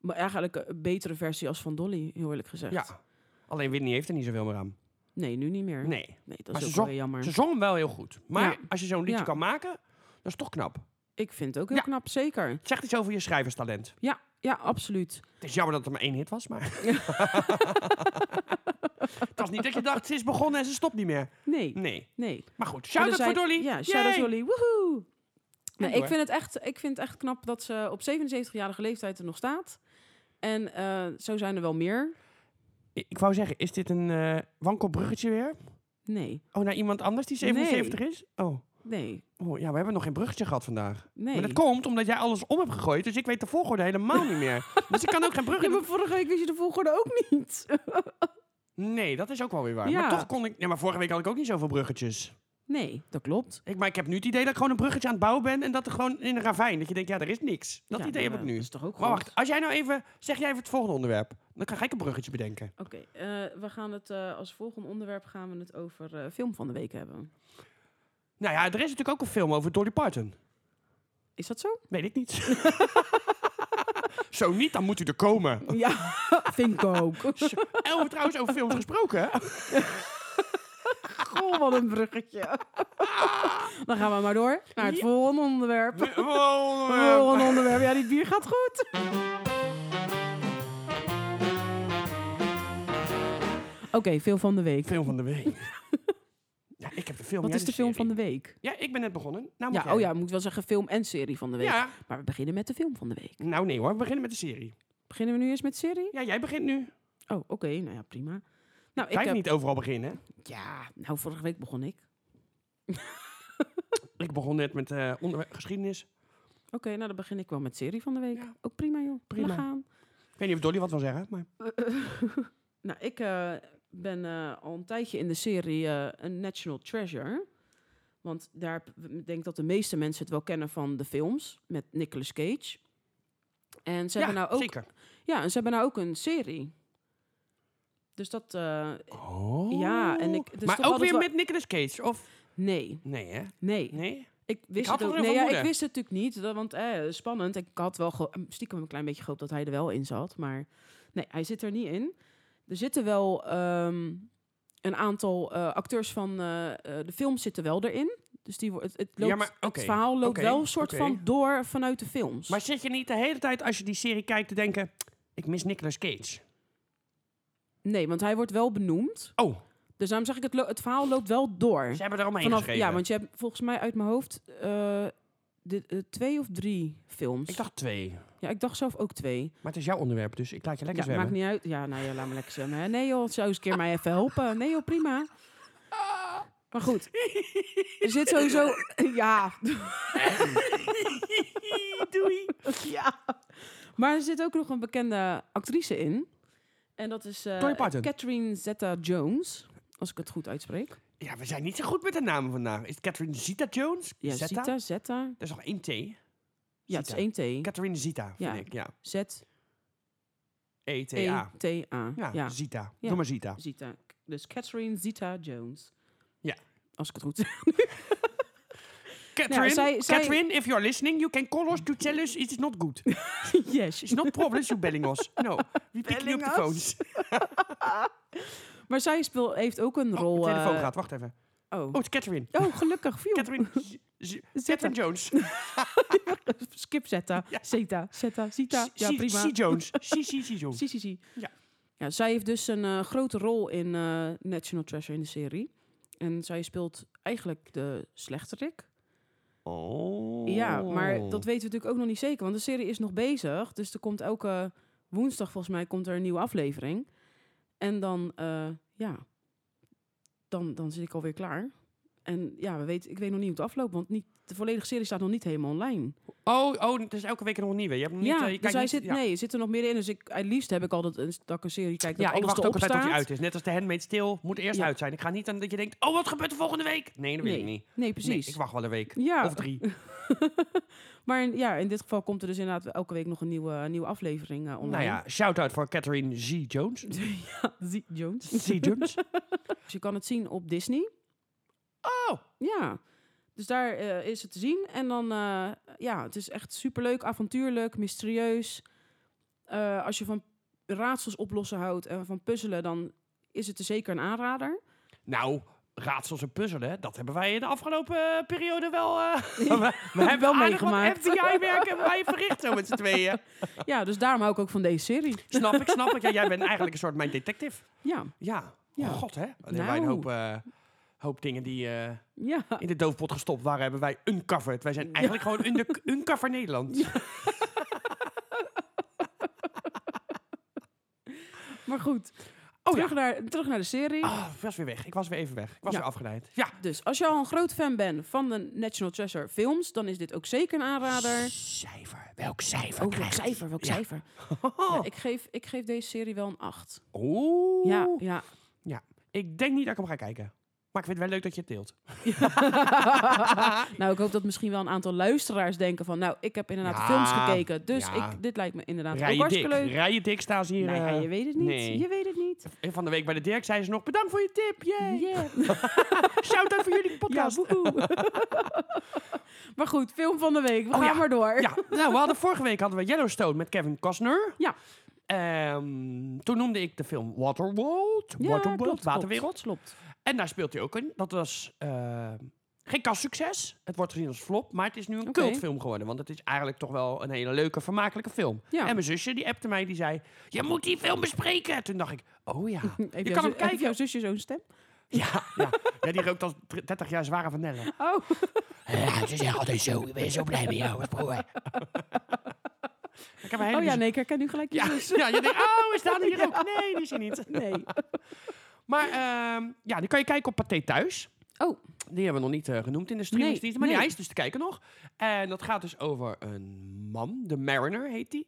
B: Maar eigenlijk een betere versie als van Dolly, heel eerlijk gezegd.
A: Ja. Alleen Whitney heeft er niet zoveel meer aan.
B: Nee, nu niet meer.
A: Nee.
B: Nee, dat
A: Maar ze
B: is ook wel
A: zong-
B: weer jammer.
A: Ze zong hem wel heel goed. Maar
B: Ja.
A: als je zo'n liedje
B: Ja.
A: kan maken, dat is toch knap.
B: Ik vind het ook heel
A: Ja.
B: knap, zeker.
A: Het zegt iets over je schrijverstalent.
B: Ja, ja, absoluut.
A: Het is jammer dat het maar één hit was, maar... het was niet dat je dacht, ze is begonnen en ze stopt niet meer.
B: Nee,
A: Nee.
B: nee.
A: Maar goed,
B: Maar er
A: shout-out
B: zijn-
A: voor Dolly.
B: Ja, shout-out
A: Yay!
B: Dolly. Woehoe! Nee, ik,
A: door.
B: vind het echt, ik vind het echt knap dat ze op 77-jarige leeftijd er nog staat. En eh, zo zijn er wel meer.
A: Ik ik wou zeggen, is dit een eh wankel bruggetje weer?
B: Nee.
A: Oh, naar iemand anders die 77 is? Oh.
B: Nee,
A: Oh, ja, we hebben nog geen bruggetje gehad vandaag.
B: nee.
A: Maar dat komt omdat jij alles om hebt gegooid, dus ik weet de volgorde helemaal niet meer. Dus ik kan ook geen
B: Ja,
A: bruggetje...
B: maar vorige week wist je de volgorde ook niet.
A: Nee, dat is ook wel weer waar.
B: Ja.
A: Maar toch kon ik... Nee, maar vorige week had ik ook niet zoveel bruggetjes.
B: Nee, dat klopt.
A: Ik, maar ik heb nu het idee dat ik gewoon een bruggetje aan het bouwen ben en dat er gewoon in een ravijn. Dat je denkt, ja, er is niks. Dat
B: Ja,
A: idee
B: maar,
A: heb ik
B: eh,
A: nu.
B: Dat is toch ook goed?
A: Maar wacht, als jij nou even... Zeg jij even het volgende onderwerp. Dan ga ik een bruggetje bedenken.
B: Oké, eh, we gaan het eh, als volgende onderwerp gaan we het over eh, film van de week hebben.
A: Nou ja, er is natuurlijk ook een film over Dolly Parton.
B: Is dat zo?
A: Weet ik niet. Zo niet, dan moet u er komen.
B: Ja, vind ik ook.
A: Elwe trouwens over films gesproken. hè?
B: Goh, wat een bruggetje. Dan gaan we maar door naar het
A: Ja.
B: volgende onderwerp.
A: Wow, eh,
B: Volgende onderwerp. Ja, dit bier gaat goed. Oké, film van de week.
A: Film van de week. ja, ik heb de film.
B: Wat
A: jij
B: is de film van
A: serie.
B: de week?
A: Ja, ik ben net begonnen. Nou, moet
B: Ja,
A: jij.
B: oh ja, moet wel zeggen film en serie van de week.
A: Ja,
B: Maar we beginnen met de film van de week.
A: nou nee hoor, we beginnen met de serie.
B: Beginnen we nu eerst met serie?
A: Ja, jij begint nu.
B: Oh, oké. nou ja, prima. Nou, ik
A: Wij
B: heb...
A: niet overal beginnen. hè?
B: Ja, nou, vorige week begon ik.
A: Ik begon net met eh, onder- geschiedenis.
B: Oké, nou dan begin ik wel met serie van de week.
A: Ja.
B: Ook prima joh.
A: Prima.
B: Laat gaan.
A: Ik weet niet of Dolly wat wil zeggen, maar...
B: Nou, ik eh, ben eh, al een tijdje in de serie eh, een National Treasure. Want daar heb- ik denk dat de meeste mensen het wel kennen van de films met Nicolas Cage. En ze,
A: ja,
B: hebben, nou ook,
A: zeker.
B: ja, en ze hebben nou ook een serie. Dus dat, eh,
A: Oh.
B: Ja, en ik- het is
A: maar
B: toch
A: ook
B: altijd
A: weer
B: wel-
A: met Nicolas Cage, of...
B: nee,
A: Nee, hè?
B: nee.
A: Nee?
B: Ik wist
A: had
B: het
A: al
B: ook
A: een
B: nee, ja, ik
A: vermoeden.
B: wist het natuurlijk niet, dat- want eh, spannend. Ik had wel ge- stiekem een klein beetje gehoopt dat hij er wel in zat, maar nee, hij zit er niet in. Er zitten wel ehm, een aantal eh, acteurs van eh, eh, de film zitten wel erin, dus die wo- het, het,
A: Ja,
B: loopt,
A: maar oké,
B: het verhaal loopt
A: oké,
B: wel een soort
A: oké.
B: van door vanuit de films.
A: Maar zit je niet de hele tijd als je die serie kijkt te denken... Ik mis Nicolas Cage.
B: nee, want hij wordt wel benoemd,
A: Oh,
B: dus daarom zeg ik het, lo- het verhaal loopt wel door.
A: ze hebben er omheen
B: Vanaf,
A: geschreven.
B: ja, want je hebt volgens mij uit mijn hoofd eh, de, eh, twee of drie films.
A: Ik dacht twee.
B: ja, ik dacht zelf ook twee.
A: Maar het is jouw onderwerp, dus ik laat je lekker
B: ja, maakt
A: zwemmen.
B: niet uit. Ja, nou ja, laat me lekker zwemmen. Hè. Nee joh, zou eens een keer mij even helpen. Nee joh, prima. Maar goed, er zit sowieso... Ja.
A: Doei.
B: ja. Maar er zit ook nog een bekende actrice in. En dat is eh,
A: Dolly Parton.
B: Catherine Zeta-Jones. Als ik het goed uitspreek.
A: Ja, we zijn niet zo goed met de namen vandaag. Is het Catherine Zita Jones?
B: Ja,
A: Zeta?
B: Zeta, Zeta.
A: Er is nog één T.
B: Ja, het is één T. E
A: Catherine Zita,
B: Ja.
A: vind ik. Ja. E-T-A.
B: Z-E-T-A.
A: Ja,
B: ja.
A: Zita.
B: Ja.
A: Noem maar Zita.
B: Zita. Dus Catherine Zeta-Jones.
A: Ja.
B: Als ik het goed
A: Catherine,
B: zij- zij-
A: Catherine, if you're listening, you can call us to tell us it is not good.
B: Yes.
A: It's not problems you belling us. No, we pick you up the
B: Belling
A: phones. Oh,
B: Maar zij speel, heeft ook een rol...
A: Oh, mijn telefoon
B: eh,
A: gaat, wacht even.
B: Oh.
A: Oh, het is Catherine.
B: Oh, gelukkig. Viel.
A: Catherine, Z- Z- Catherine Jones.
B: Skip Zeta.
A: Ja.
B: Zeta. Zeta. Zita.
A: C-
B: Ja, prima.
A: C. Jones. C. C. C. Jones.
B: Zie, zie, zie.
A: Ja.
B: Ja, zij heeft dus een eh, grote rol in eh, National Treasure in de serie. En zij speelt eigenlijk de slechterik.
A: Oh.
B: Ja, maar dat weten we natuurlijk ook nog niet zeker. Want de serie is nog bezig. Dus er komt elke woensdag volgens mij komt er een nieuwe aflevering. En dan, eh, ja, dan, dan zit ik alweer klaar. En ja, we weten, ik weet nog niet hoe het afloopt. Want niet, de volledige serie staat nog niet helemaal online.
A: Oh, oh, het is elke week nog een nieuwe. Je hebt hem niet,
B: ja,
A: eh, je kijkt
B: dus hij
A: niet-
B: zit,
A: ja.
B: nee, zit er nog middenin. Dus ik, het liefst heb ik altijd een, dat ik een serie kijk dat
A: Ja, ik
B: alles
A: wacht
B: erop
A: ook altijd tot
B: staat.
A: hij uit is. Net als de handmaid stil moet eerst
B: Ja.
A: uit zijn. Ik ga niet aan dat je denkt, oh, wat gebeurt er volgende week? Nee, dat weet
B: nee,
A: ik niet.
B: nee,
A: Nee,
B: precies.
A: ik wacht wel een week.
B: ja,
A: Of drie.
B: maar in, ja, in dit geval komt er dus inderdaad elke week nog een nieuwe, nieuwe aflevering eh,
A: Nou
B: online.
A: ja, shout-out voor Catherine Z. Jones.
B: ja, Zeke Jones.
A: Z. Jones.
B: Dus je kan het zien op Disney.
A: Oh,
B: Ja, dus daar eh, is het te zien. En dan, eh, ja, het is echt superleuk, avontuurlijk, mysterieus. Eh, als je van raadsels oplossen houdt en van puzzelen, dan is het er zeker een aanrader.
A: nou, raadsels en puzzelen, dat hebben wij in de afgelopen eh, periode wel... eh, we, we hebben
B: wel
A: aardig wat
B: meegemaakt.
A: FBI-werk hebben wij verricht zo met z'n tweeën.
B: ja, dus daarom hou ik ook van deze serie.
A: Snap ik, snap ik. Ja, jij bent eigenlijk een soort mijn detective.
B: Ja,
A: Ja,
B: Ja.
A: Oh, god hè. Dan hebben
B: Nou.
A: wij een hoop, eh, hoop dingen die... eh,
B: ja.
A: in de doofpot gestopt waren, hebben wij uncovered. Wij zijn eigenlijk gewoon under, uncover Nederland.
B: Maar goed,
A: Oh
B: terug,
A: ja.
B: naar, terug naar de serie.
A: Ah, ik was weer weg. Ik was weer even weg. Ik was
B: Ja.
A: weer afgeleid. Ja.
B: Dus als je al een groot fan bent van de National Treasure films, dan is dit ook zeker een aanrader.
A: Cijfer. Welk cijfer
B: Oh, welk
A: krijgt
B: cijfer, welk
A: Ja.
B: cijfer. Ja, ik, geef, ik geef deze serie wel een 8.
A: Oeh.
B: Ja, ja.
A: Ik denk niet dat ik hem ga kijken. Maar ik vind het wel leuk dat je het deelt.
B: nou, ik hoop dat misschien wel een aantal luisteraars denken van... nou, ik heb inderdaad
A: Ja,
B: de films gekeken, dus
A: ja.
B: ik, dit lijkt me inderdaad
A: Rij
B: ook
A: je
B: hartstikke
A: dik.
B: leuk.
A: Rij je dik staan ze hier.
B: Nou ja,
A: eh,
B: je weet het niet.
A: nee.
B: Je weet het niet.
A: Van de week bij de Dirk zei ze nog, bedankt voor je tip. Yay.
B: Yeah.
A: Shout-out voor jullie
B: Ja,
A: podcast.
B: woehoe. maar goed, film van de week. We
A: Oh
B: gaan
A: ja.
B: maar door.
A: Ja, nou, we hadden vorige week hadden we Yellowstone met Kevin Costner.
B: Ja.
A: Ehm, toen noemde ik de film Waterworld.
B: Ja,
A: Waterworld,
B: klopt,
A: Waterwereld.
B: Klopt, klopt.
A: En daar speelt hij ook in. Dat was eh, geen kassucces. Het wordt gezien als flop, maar het is nu een
B: Oké.
A: cultfilm geworden. Want het is eigenlijk toch wel een hele leuke, vermakelijke film.
B: Ja.
A: En mijn zusje die appte mij, die zei, je moet die film bespreken. Toen dacht ik, oh ja,
B: Heeft
A: je
B: Hm, jouw
A: kan hem
B: zu- heeft jouw
A: kijken.
B: zusje zo'n stem?
A: Ja, ja. ja, die rookt al dr- 30 jaar zware vanille.
B: Oh.
A: Ja, ze zeggen altijd zo, ik ben zo blij met jou, broer. ik heb een hele
B: Oh ja,
A: bijz-
B: nee, dus. ik herken nu gelijk je
A: dus- ja,
B: zus.
A: ja, je denkt, oh, is dat hier ook? Nee, die is er niet.
B: Nee.
A: Maar ehm, ja, die kan je kijken op Pathé Thuis.
B: Oh.
A: Die hebben we nog niet eh, genoemd in de
B: Nee,
A: streamingsdienst. maar
B: nee.
A: die is dus te kijken nog. En dat gaat dus over een man. De Mariner heet die.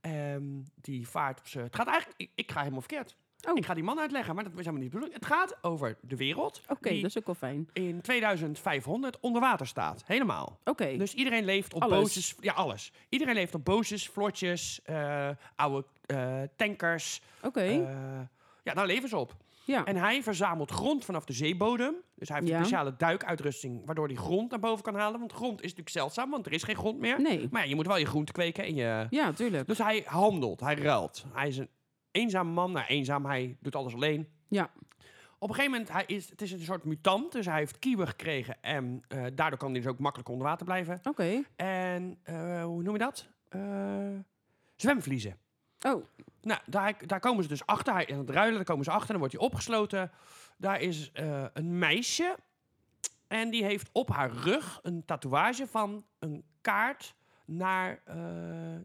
A: Ehm, die vaart op zijn... Het gaat eigenlijk... Ik, ik ga helemaal verkeerd.
B: Oh.
A: Ik ga die man uitleggen, maar dat is helemaal niet de bedoeling. Het gaat over de wereld.
B: Oké, dus-
A: die
B: dat is ook wel fijn.
A: in 2500 onder water staat. Helemaal.
B: Oké.
A: Dus iedereen leeft op
B: Alles.
A: bootjes. Ja, alles. Iedereen leeft op bootjes, vlotjes, eh, oude eh, tankers.
B: Oké.
A: eh, ja, daar leven ze op.
B: ja.
A: En hij verzamelt grond vanaf de zeebodem. Dus hij heeft
B: Ja.
A: een speciale duikuitrusting waardoor hij grond naar boven kan halen. Want grond is natuurlijk zeldzaam, want er is geen grond meer.
B: Nee.
A: Maar ja, je moet wel je groente kweken en je...
B: Ja, tuurlijk.
A: Dus hij handelt, hij ruilt. Hij is een eenzaam man. Nou, eenzaam, hij doet alles alleen.
B: Ja.
A: Op een gegeven moment, hij is, het is een soort mutant. Dus hij heeft kieuwen gekregen en eh, daardoor kan hij dus ook makkelijk onder water blijven.
B: Oké.
A: En eh, hoe noem je dat? Eh, zwemvliezen.
B: Oh,
A: Nou, daar, daar komen ze dus achter. Hij, in het ruilen, daar komen ze achter. Dan wordt hij opgesloten. Daar is eh, een meisje. En die heeft op haar rug een tatoeage van een kaart naar eh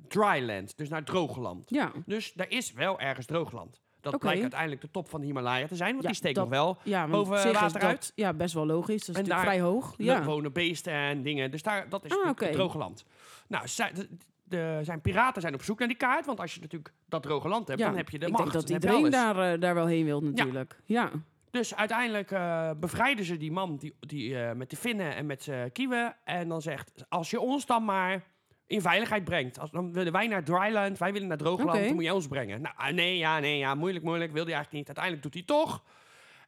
A: dryland. Dus naar droogland.
B: ja.
A: Dus daar is wel ergens droogland. Dat
B: Oké.
A: blijkt uiteindelijk de top van de Himalaya te zijn. Want
B: Ja,
A: die steekt
B: dat-
A: nog wel.
B: Ja, want op
A: Boven
B: zich is
A: water
B: dat,
A: uit.
B: Ja, best wel logisch. Dat is
A: En
B: natuurlijk
A: daar
B: vrij hoog.
A: Ja.
B: Ja.
A: wonen beesten en dingen. Dus daar, dat is
B: Ah,
A: natuurlijk
B: oké.
A: het droge land. Nou, zij- de, de- zijn piraten zijn op zoek naar die kaart. Want als je natuurlijk dat droge land hebt,
B: ja.
A: dan heb je de
B: ik
A: macht.
B: denk dat
A: dan heb je
B: iedereen
A: alles.
B: daar, eh, daar wel heen wil natuurlijk. Ja.
A: Dus uiteindelijk eh, bevrijden ze die man die, die, eh, met de vinnen en met zijn kieuwen. En dan zegt, als je ons dan maar in veiligheid brengt. Als, dan willen wij naar dryland, wij willen naar droogland,
B: Oké.
A: dan moet je ons brengen. Nou, ah, nee, ja, nee, ja, moeilijk, moeilijk, wil hij eigenlijk niet. Uiteindelijk doet hij toch.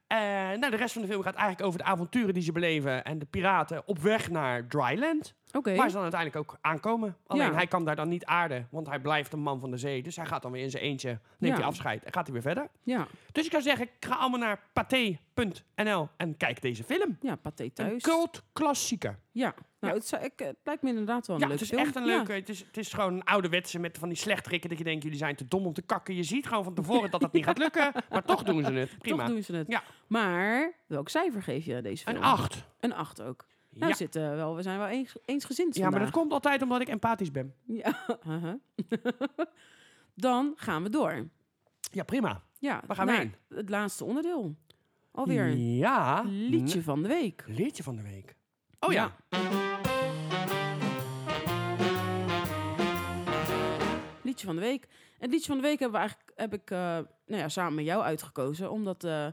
A: En nou, de rest van de film gaat eigenlijk over de avonturen die ze beleven. En de piraten op weg naar dryland.
B: Oké.
A: Waar ze dan uiteindelijk ook aankomen. Alleen
B: Ja.
A: hij kan daar dan niet aarden, want hij blijft een man van de zee. Dus hij gaat dan weer in zijn eentje, neemt
B: Ja.
A: hij afscheid en gaat hij weer verder.
B: Ja.
A: Dus ik zou zeggen, ik ga allemaal naar pathé.nl en kijk deze film.
B: Ja, paté
A: Een
B: thuis.
A: cult klassieker.
B: Ja. Nou,
A: Ja.
B: Het, zou- ik, eh, het lijkt me inderdaad wel een
A: Ja, het
B: leuke
A: is
B: film.
A: echt een
B: Ja.
A: leuke. Het, is, het is gewoon een ouderwetse met van die slechtrikken dat je denkt, jullie zijn te dom om te kakken. Je ziet gewoon van tevoren dat dat niet gaat lukken, maar toch doen ze het.
B: Toch
A: Prima.
B: doen ze het.
A: Ja.
B: Maar welk cijfer geef je deze film?
A: Een 8.
B: Een acht ook. Nou,
A: Ja.
B: we zitten wel, we zijn wel eens, eensgezind
A: ja, maar dat
B: vandaag.
A: komt altijd omdat ik empathisch ben.
B: Ja. haha. Dan gaan we door.
A: Ja, prima.
B: Ja,
A: Waar gaan we
B: naar
A: heen?
B: Het laatste onderdeel. Nou, Alweer een
A: Ja. Hm.
B: liedje van de week.
A: Liedje van de week. Oh ja.
B: Liedje van de week. En het liedje van de week hebben we eigenlijk, heb ik eh, nou ja, samen met jou uitgekozen. Omdat eh,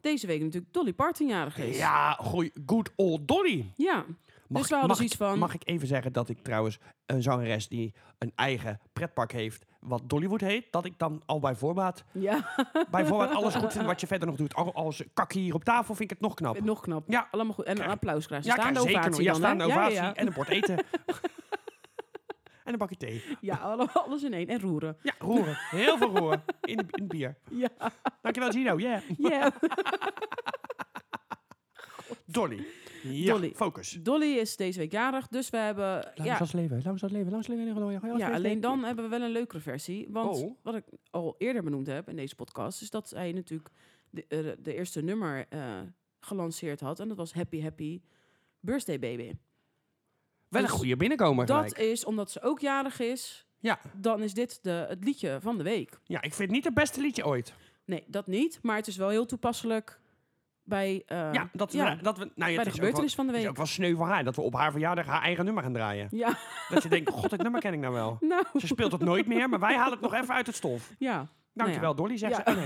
B: deze week natuurlijk Dolly Parton jarig is.
A: Ja, gooi, good old Dolly.
B: Ja.
A: Mag,
B: dus we hadden
A: mag,
B: zoiets van...
A: mag ik even zeggen dat ik trouwens een zangeres die een eigen pretpark heeft, wat Dollywood heet, dat ik dan al bij voorbaat,
B: Ja,
A: bij voorbaat alles goed vind wat je verder nog doet. Al, als kakkie hier op tafel vind ik het nog knap.
B: nog knap.
A: Ja.
B: Allemaal goed. En een
A: Krijg-
B: applaus krijgen.
A: ja,
B: Ze staan
A: kijk, zeker nog.
B: ovatie
A: Ja,
B: dan, hè?
A: staande ovatie
B: Ja, ja,
A: en een bord eten. en een bakje thee.
B: ja. ja, alle- alles in één. En roeren.
A: Ja, roeren. Heel veel roeren. In, de- in het bier.
B: Ja.
A: Dankjewel, Gino. Yeah.
B: Ja.
A: Dolly. Ja,
B: Dolly.
A: focus.
B: Dolly is deze week jarig, dus we hebben...
A: Langs
B: ja,
A: als leven, langs als leven, langs leven. in de rode. Langs
B: Ja,
A: leven.
B: alleen dan hebben we wel een leukere versie. Want
A: Oh.
B: wat ik al eerder benoemd heb in deze podcast, is dat hij natuurlijk de, eh, de eerste nummer eh, gelanceerd had. En dat was Happy Happy Birthday Baby.
A: Wel een
B: Dus
A: goede binnenkomer gelijk.
B: Dat is omdat ze ook jarig is,
A: Ja.
B: dan is dit de, het liedje van de week.
A: ja, ik vind het niet het beste liedje ooit.
B: Nee, dat niet. Maar het is wel heel toepasselijk bij, eh,
A: ja, dat,
B: ja,
A: We, dat we... Nou, ja, het
B: bij
A: is
B: de
A: ook wel-
B: gebeurtenis van de
A: Het is
B: week.
A: ook wel sneu van haar dat we op haar verjaardag haar eigen nummer gaan draaien.
B: Ja,
A: Dat je denkt, god, dit nummer ken ik nou wel.
B: nou.
A: Ze speelt het nooit meer, maar wij halen het nog even uit het stof.
B: Ja,
A: Dankjewel, Dolly, zegt ze.
B: Ja.
A: Oh,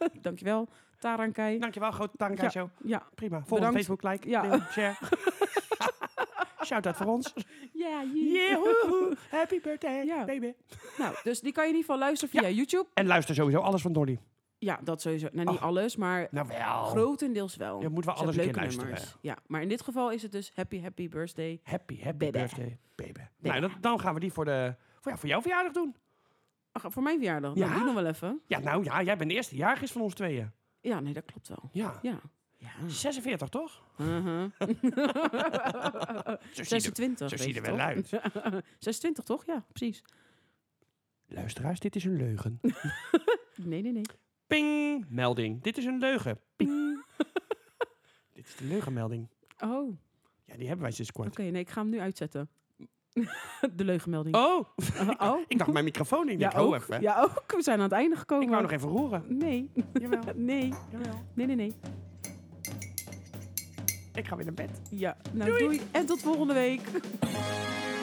A: nee.
B: dankjewel. Tara en Kai.
A: Dankjewel, grote dank
B: Ja.
A: aan jou.
B: Ja.
A: Prima. Volgende
B: Bedankt.
A: Facebook, like,
B: Ja.
A: deel, share. Shout-out voor ons.
B: Ja,
A: Yeah, woehoe. happy birthday,
B: Ja.
A: baby.
B: Nou, dus die kan je in ieder geval luisteren via YouTube.
A: En luister sowieso alles van Dolly.
B: Ja, dat sowieso. Nou, niet
A: Oh.
B: alles, maar
A: Nou wel.
B: grotendeels wel.
A: Je moet wel
B: Ze
A: alles een
B: hebben
A: keer
B: leuke
A: luisteren.
B: nummers. Ja, maar in dit geval is het dus Happy Happy Birthday.
A: Happy, happy
B: Baby.
A: birthday, baby. Nou, dat- dan gaan we die voor, de, voor, ja, voor jouw verjaardag doen.
B: Ach, voor mijn verjaardag.
A: Ja?
B: Nou, doe nog wel even.
A: Ja, nou ja, jij bent de eerste jaargist van ons tweeën.
B: Ja, nee, dat klopt wel.
A: Ja.
B: Ja. Ja.
A: 46, toch?
B: Uh-huh.
A: Zo zie je er-
B: 26.
A: zo
B: weet
A: zie je
B: je
A: er wel
B: toch?
A: uit.
B: 26, toch? Ja, precies.
A: Luisteraars, dit is een leugen.
B: Nee, nee, nee.
A: Ping! Melding. Dit is een leugen. Ping! dit is de leugenmelding.
B: Oh, oké.
A: Ja, die hebben wij sinds kort.
B: nee, ik ga hem nu uitzetten. De leugenmelding.
A: Oh!
B: oh.
A: Ik dacht mijn microfoon. Ik
B: Ja,
A: denk, oh
B: ook.
A: even.
B: Ja, ook. We zijn aan het einde gekomen.
A: Ik wou nog even roeren.
B: Nee.
A: Jawel,
B: Nee.
A: jawel.
B: Nee, nee, nee.
A: Ik ga weer naar bed.
B: Ja. Nou, doei. En tot volgende week.